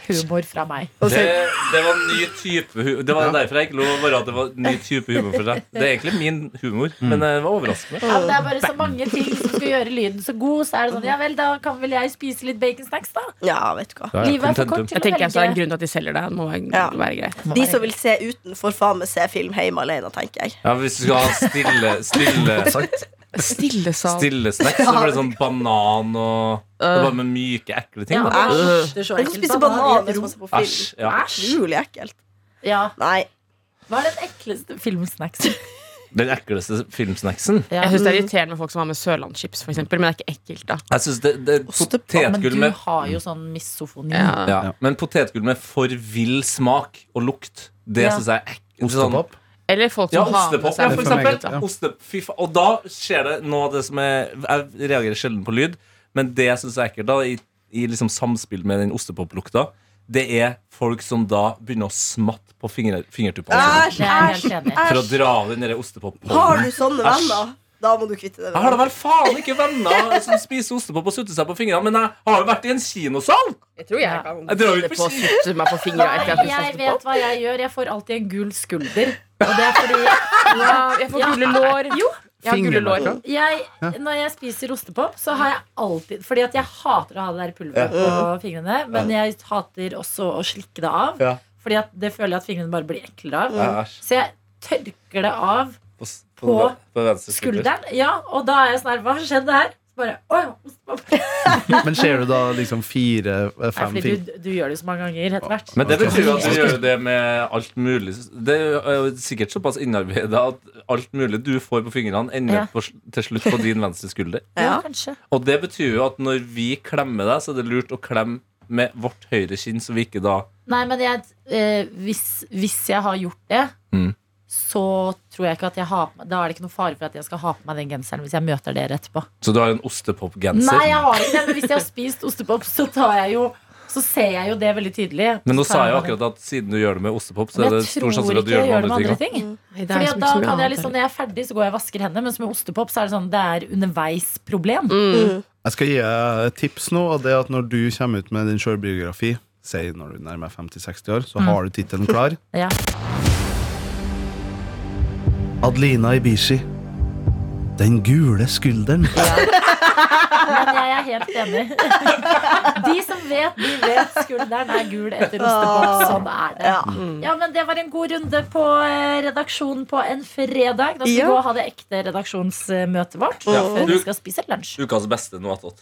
Speaker 3: Humor fra meg.
Speaker 2: Det, det var en ny type humor. Det var derfor jeg ikke lov å være at det var en ny type humor for deg. Det er egentlig min humor, men eh, det var overraskende.
Speaker 3: Ja, men det er bare så mange ting som skal gjøre lyden så god, så er det sånn ja vel, da kan vel jeg spise litt baconsnacks, da.
Speaker 4: Ja, vet du hva.
Speaker 2: Ja, ja,
Speaker 3: Livet er for
Speaker 2: contentum.
Speaker 3: kort til
Speaker 5: Jeg
Speaker 3: å
Speaker 5: tenker altså, Det er en
Speaker 3: velge.
Speaker 5: grunn til at de selger det. Det må være,
Speaker 4: Ja.
Speaker 5: være greit.
Speaker 4: De som vil se uten, får faen meg se film hjemme alene, tenker jeg.
Speaker 2: Ja, hvis du skal ha stille Stille,
Speaker 6: sagt?
Speaker 5: Stillesal.
Speaker 2: stille snacks, så blir det sånn banan og det er Bare med myke, ekle ting.
Speaker 3: Ja,
Speaker 2: da.
Speaker 3: æsj, det er så
Speaker 4: Tenk å
Speaker 3: ekkelt,
Speaker 4: spise
Speaker 3: da. Da har
Speaker 4: banan
Speaker 3: de et
Speaker 4: mens
Speaker 3: rom.
Speaker 4: man ser på film.
Speaker 2: Æsj. Ja.
Speaker 4: Utrolig ekkelt.
Speaker 3: Ja,
Speaker 4: Nei.
Speaker 3: Hva er den ekleste filmsnacksen?
Speaker 2: Den ekleste filmsnacksen.
Speaker 5: Jeg syns det er irriterende med folk som har med sørlandschips, for eksempel, men det er ikke ekkelt, da.
Speaker 2: Jeg synes det, det er
Speaker 3: Ja, men
Speaker 2: potetgull
Speaker 3: du
Speaker 2: med
Speaker 3: har jo sånn misofoni.
Speaker 5: Ja.
Speaker 2: ja. Men potetgull med for vill smak og lukt, det
Speaker 3: Ja.
Speaker 2: synes syns jeg er ekkelt. Sånn-
Speaker 6: Ostepop?
Speaker 5: Eller folk som
Speaker 2: Ja,
Speaker 5: har med
Speaker 2: ostepop,
Speaker 5: seg
Speaker 2: ja, for
Speaker 6: Det er for
Speaker 2: eksempel.
Speaker 6: meget, ja.
Speaker 2: Oste, fy fa og da skjer det noe av det som er Jeg reagerer sjelden på lyd, men det jeg syns er ekkelt, da, i, i liksom samspill med den ostepoplukta, det er folk som da begynner å smatte på finger, fingertuppene sine
Speaker 4: Æsj,
Speaker 3: Det er jeg helt
Speaker 4: æsj,
Speaker 3: enig i.
Speaker 2: for å
Speaker 4: æsj.
Speaker 2: dra av den derre ostepoppollen.
Speaker 4: Har du sånne venner, da må du kvitte deg
Speaker 2: Jeg har da
Speaker 4: med dem.
Speaker 2: vel faen ikke venner som spiser ostepop og sutter seg på fingrene, men jeg har jo vært i en kinosal!
Speaker 5: Jeg tror jeg kan
Speaker 2: Jeg drar ut
Speaker 5: sitte
Speaker 2: på
Speaker 5: på og sutte meg på fingra etter at
Speaker 3: Nei,
Speaker 5: jeg har
Speaker 3: jeg
Speaker 5: spist
Speaker 3: vet
Speaker 5: ostepop.
Speaker 3: hva jeg gjør. Jeg får alltid en gul skulder. Og det er fordi
Speaker 5: Ja, jeg får gule lår. Jeg har gule lår.
Speaker 6: Fingermerker?
Speaker 3: jeg, Når jeg spiser ostepop, så har jeg alltid Fordi at jeg hater å ha det der pulveret på fingrene, men jeg hater også å slikke det av.
Speaker 2: Ja.
Speaker 3: Fordi at det føler jeg at fingrene bare blir eklere av.
Speaker 2: Æsj.
Speaker 3: Så jeg tørker det av
Speaker 2: På, s-
Speaker 3: På
Speaker 2: på venstre
Speaker 3: skulderen. Ja, og da er jeg sånn her Hva har skjedd her? Så bare, «Å ja, ostepop».
Speaker 6: Men ser du da liksom
Speaker 3: Nei,
Speaker 6: fire-fem
Speaker 3: fordi
Speaker 6: fingre?
Speaker 3: du, du gjør det så mange ganger etter hvert.
Speaker 2: Men det
Speaker 6: Ok.
Speaker 2: betyr jo at du gjør det med alt mulig. Det er jo sikkert såpass innarbeida at alt mulig du får på fingrene, ender
Speaker 3: Ja.
Speaker 2: på, til slutt på din venstre skulder.
Speaker 3: ja,
Speaker 4: Ja.
Speaker 3: kanskje.
Speaker 2: Og det betyr jo at når vi klemmer deg, så er det lurt å klemme med vårt høyre kinn, så vi ikke da
Speaker 3: Nei, men jeg, eh, hvis, hvis jeg har gjort det,
Speaker 2: Mm.
Speaker 3: så tror jeg ikke at jeg har på meg Da er det ikke noe fare for at jeg skal ha på meg den genseren hvis jeg møter dere etterpå.
Speaker 2: Så du har en ostepopgenser?
Speaker 3: Nei, jeg har ikke det, men hvis jeg har spist ostepop, så tar jeg jo så ser jeg jo det veldig tydelig.
Speaker 2: Men nå
Speaker 3: Så tar
Speaker 2: sa jeg jo
Speaker 3: meg den.
Speaker 2: akkurat at siden du gjør det med ostepop, så
Speaker 3: Men
Speaker 2: er det
Speaker 3: jeg
Speaker 2: stor
Speaker 3: tror
Speaker 2: sjanse for at du
Speaker 3: ikke
Speaker 2: gjør det
Speaker 3: jeg
Speaker 2: med andre ting. også.
Speaker 3: ting.
Speaker 5: Fordi
Speaker 3: Fordi at da kan jeg liksom, Når jeg er ferdig, så går jeg og vasker hendene. Men med ostepop så er det sånn det er underveisproblem.
Speaker 6: Jeg skal gi deg et tips nå, og det er at når du kommer ut med din sjølbiografi, si når du nærmer deg 50-60 år, så har du tittelen klar.
Speaker 3: Ja.
Speaker 6: Adelina Ibishi. Den gule skulderen.
Speaker 3: Men jeg er helt enig. De som vet, de vet skulderen er gul etter ostepop. Sånn er det.
Speaker 4: Ja.
Speaker 3: Ja, men Det var en god runde på eh, redaksjon på en fredag. Da skal
Speaker 4: Ja.
Speaker 3: vi gå og ha det ekte redaksjonsmøtet vårt
Speaker 2: Ja.
Speaker 3: før vi
Speaker 2: Du-
Speaker 3: skal spise lunsj.
Speaker 2: Ukas beste noe attåt.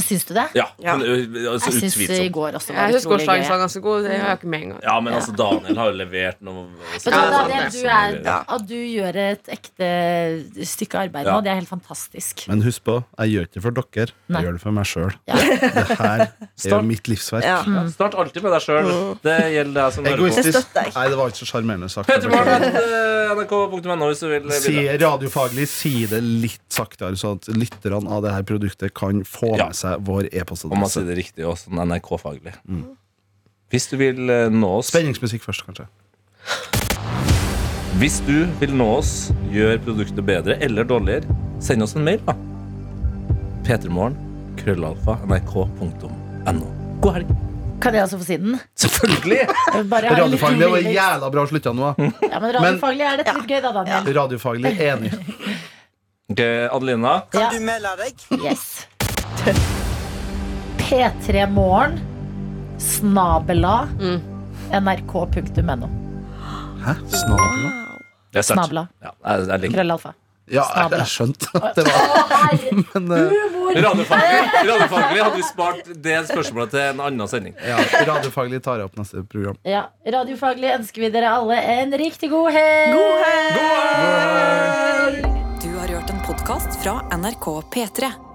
Speaker 3: Syns du det?
Speaker 2: Ja.
Speaker 4: Ja.
Speaker 2: men, ø, Altså,
Speaker 3: Jeg eh, syns i
Speaker 2: utvilsomt.
Speaker 3: går også var
Speaker 5: Jeg syns
Speaker 3: utrolig gøy.
Speaker 5: gårsdagens var ganske god. Det har jeg ikke med engang.
Speaker 2: Ja, men altså, Daniel har jo levert noe
Speaker 3: Vet du hva,
Speaker 5: Ja, sant,
Speaker 3: Daniel,
Speaker 5: det.
Speaker 3: du er,
Speaker 4: Ja.
Speaker 3: at du gjør et ekte stykke arbeid nå,
Speaker 2: Ja.
Speaker 3: det er helt fantastisk.
Speaker 6: Men husk på, jeg gjør ikke det for dere, jeg
Speaker 3: Nei.
Speaker 6: gjør det for meg sjøl.
Speaker 3: Ja.
Speaker 6: Det her er jo
Speaker 2: Start.
Speaker 6: mitt livsverk.
Speaker 4: Ja.
Speaker 2: Ja, Start alltid med deg sjøl. Det gjelder deg som hører på.
Speaker 4: Det
Speaker 6: Egoistisk.
Speaker 4: støtter jeg.
Speaker 6: Nei, det var ikke så sjarmerende sagt.
Speaker 2: P3morgen.nrk.no hvis du vil eh,
Speaker 6: Si,
Speaker 2: bidra.
Speaker 6: radiofaglig si det litt saktere, sånn at lytterne av det her produktet kan få
Speaker 2: Ja.
Speaker 6: med seg vår
Speaker 2: Om man sier
Speaker 6: e-postadresse.
Speaker 2: det riktig også, sånn NRK-faglig.
Speaker 6: Mm.
Speaker 2: Hvis du vil eh, nå oss
Speaker 6: Spenningsmusikk først, kanskje.
Speaker 2: Hvis du vil nå oss, gjør produktet bedre eller dårligere, send oss en mail, da. P3morgen. Krøllalfa. NRK.no. God helg.
Speaker 3: Kan jeg også få si den?
Speaker 2: Selvfølgelig!
Speaker 3: Jeg vil Bare ha en liten
Speaker 6: Radiofaglig det var
Speaker 3: remix.
Speaker 6: jævla bra slutta nå.
Speaker 3: Ja, men radiofaglig er dette litt gøy, da, Daniel.
Speaker 6: Radiofaglig enig.
Speaker 2: Ok, Adelina.
Speaker 3: Kan du melde deg? Yes. P3 Morgen, snabela, nrk.no.
Speaker 6: Hæ? Snabel?
Speaker 2: Jeg setter-
Speaker 3: Snabla.
Speaker 2: Ja, jeg, jeg liker
Speaker 3: Krøllalfa.
Speaker 6: Ja, jeg, jeg skjønte at det var Men eh,
Speaker 2: Radiofaglig, radiofaglig hadde vi spart det spørsmålet til en annen sending.
Speaker 6: ja, radiofaglig tar jeg opp neste program.
Speaker 3: Ja. Radiofaglig ønsker vi dere alle en riktig god helg!
Speaker 2: God helg!
Speaker 1: Du har hørt en podkast fra NRK P3.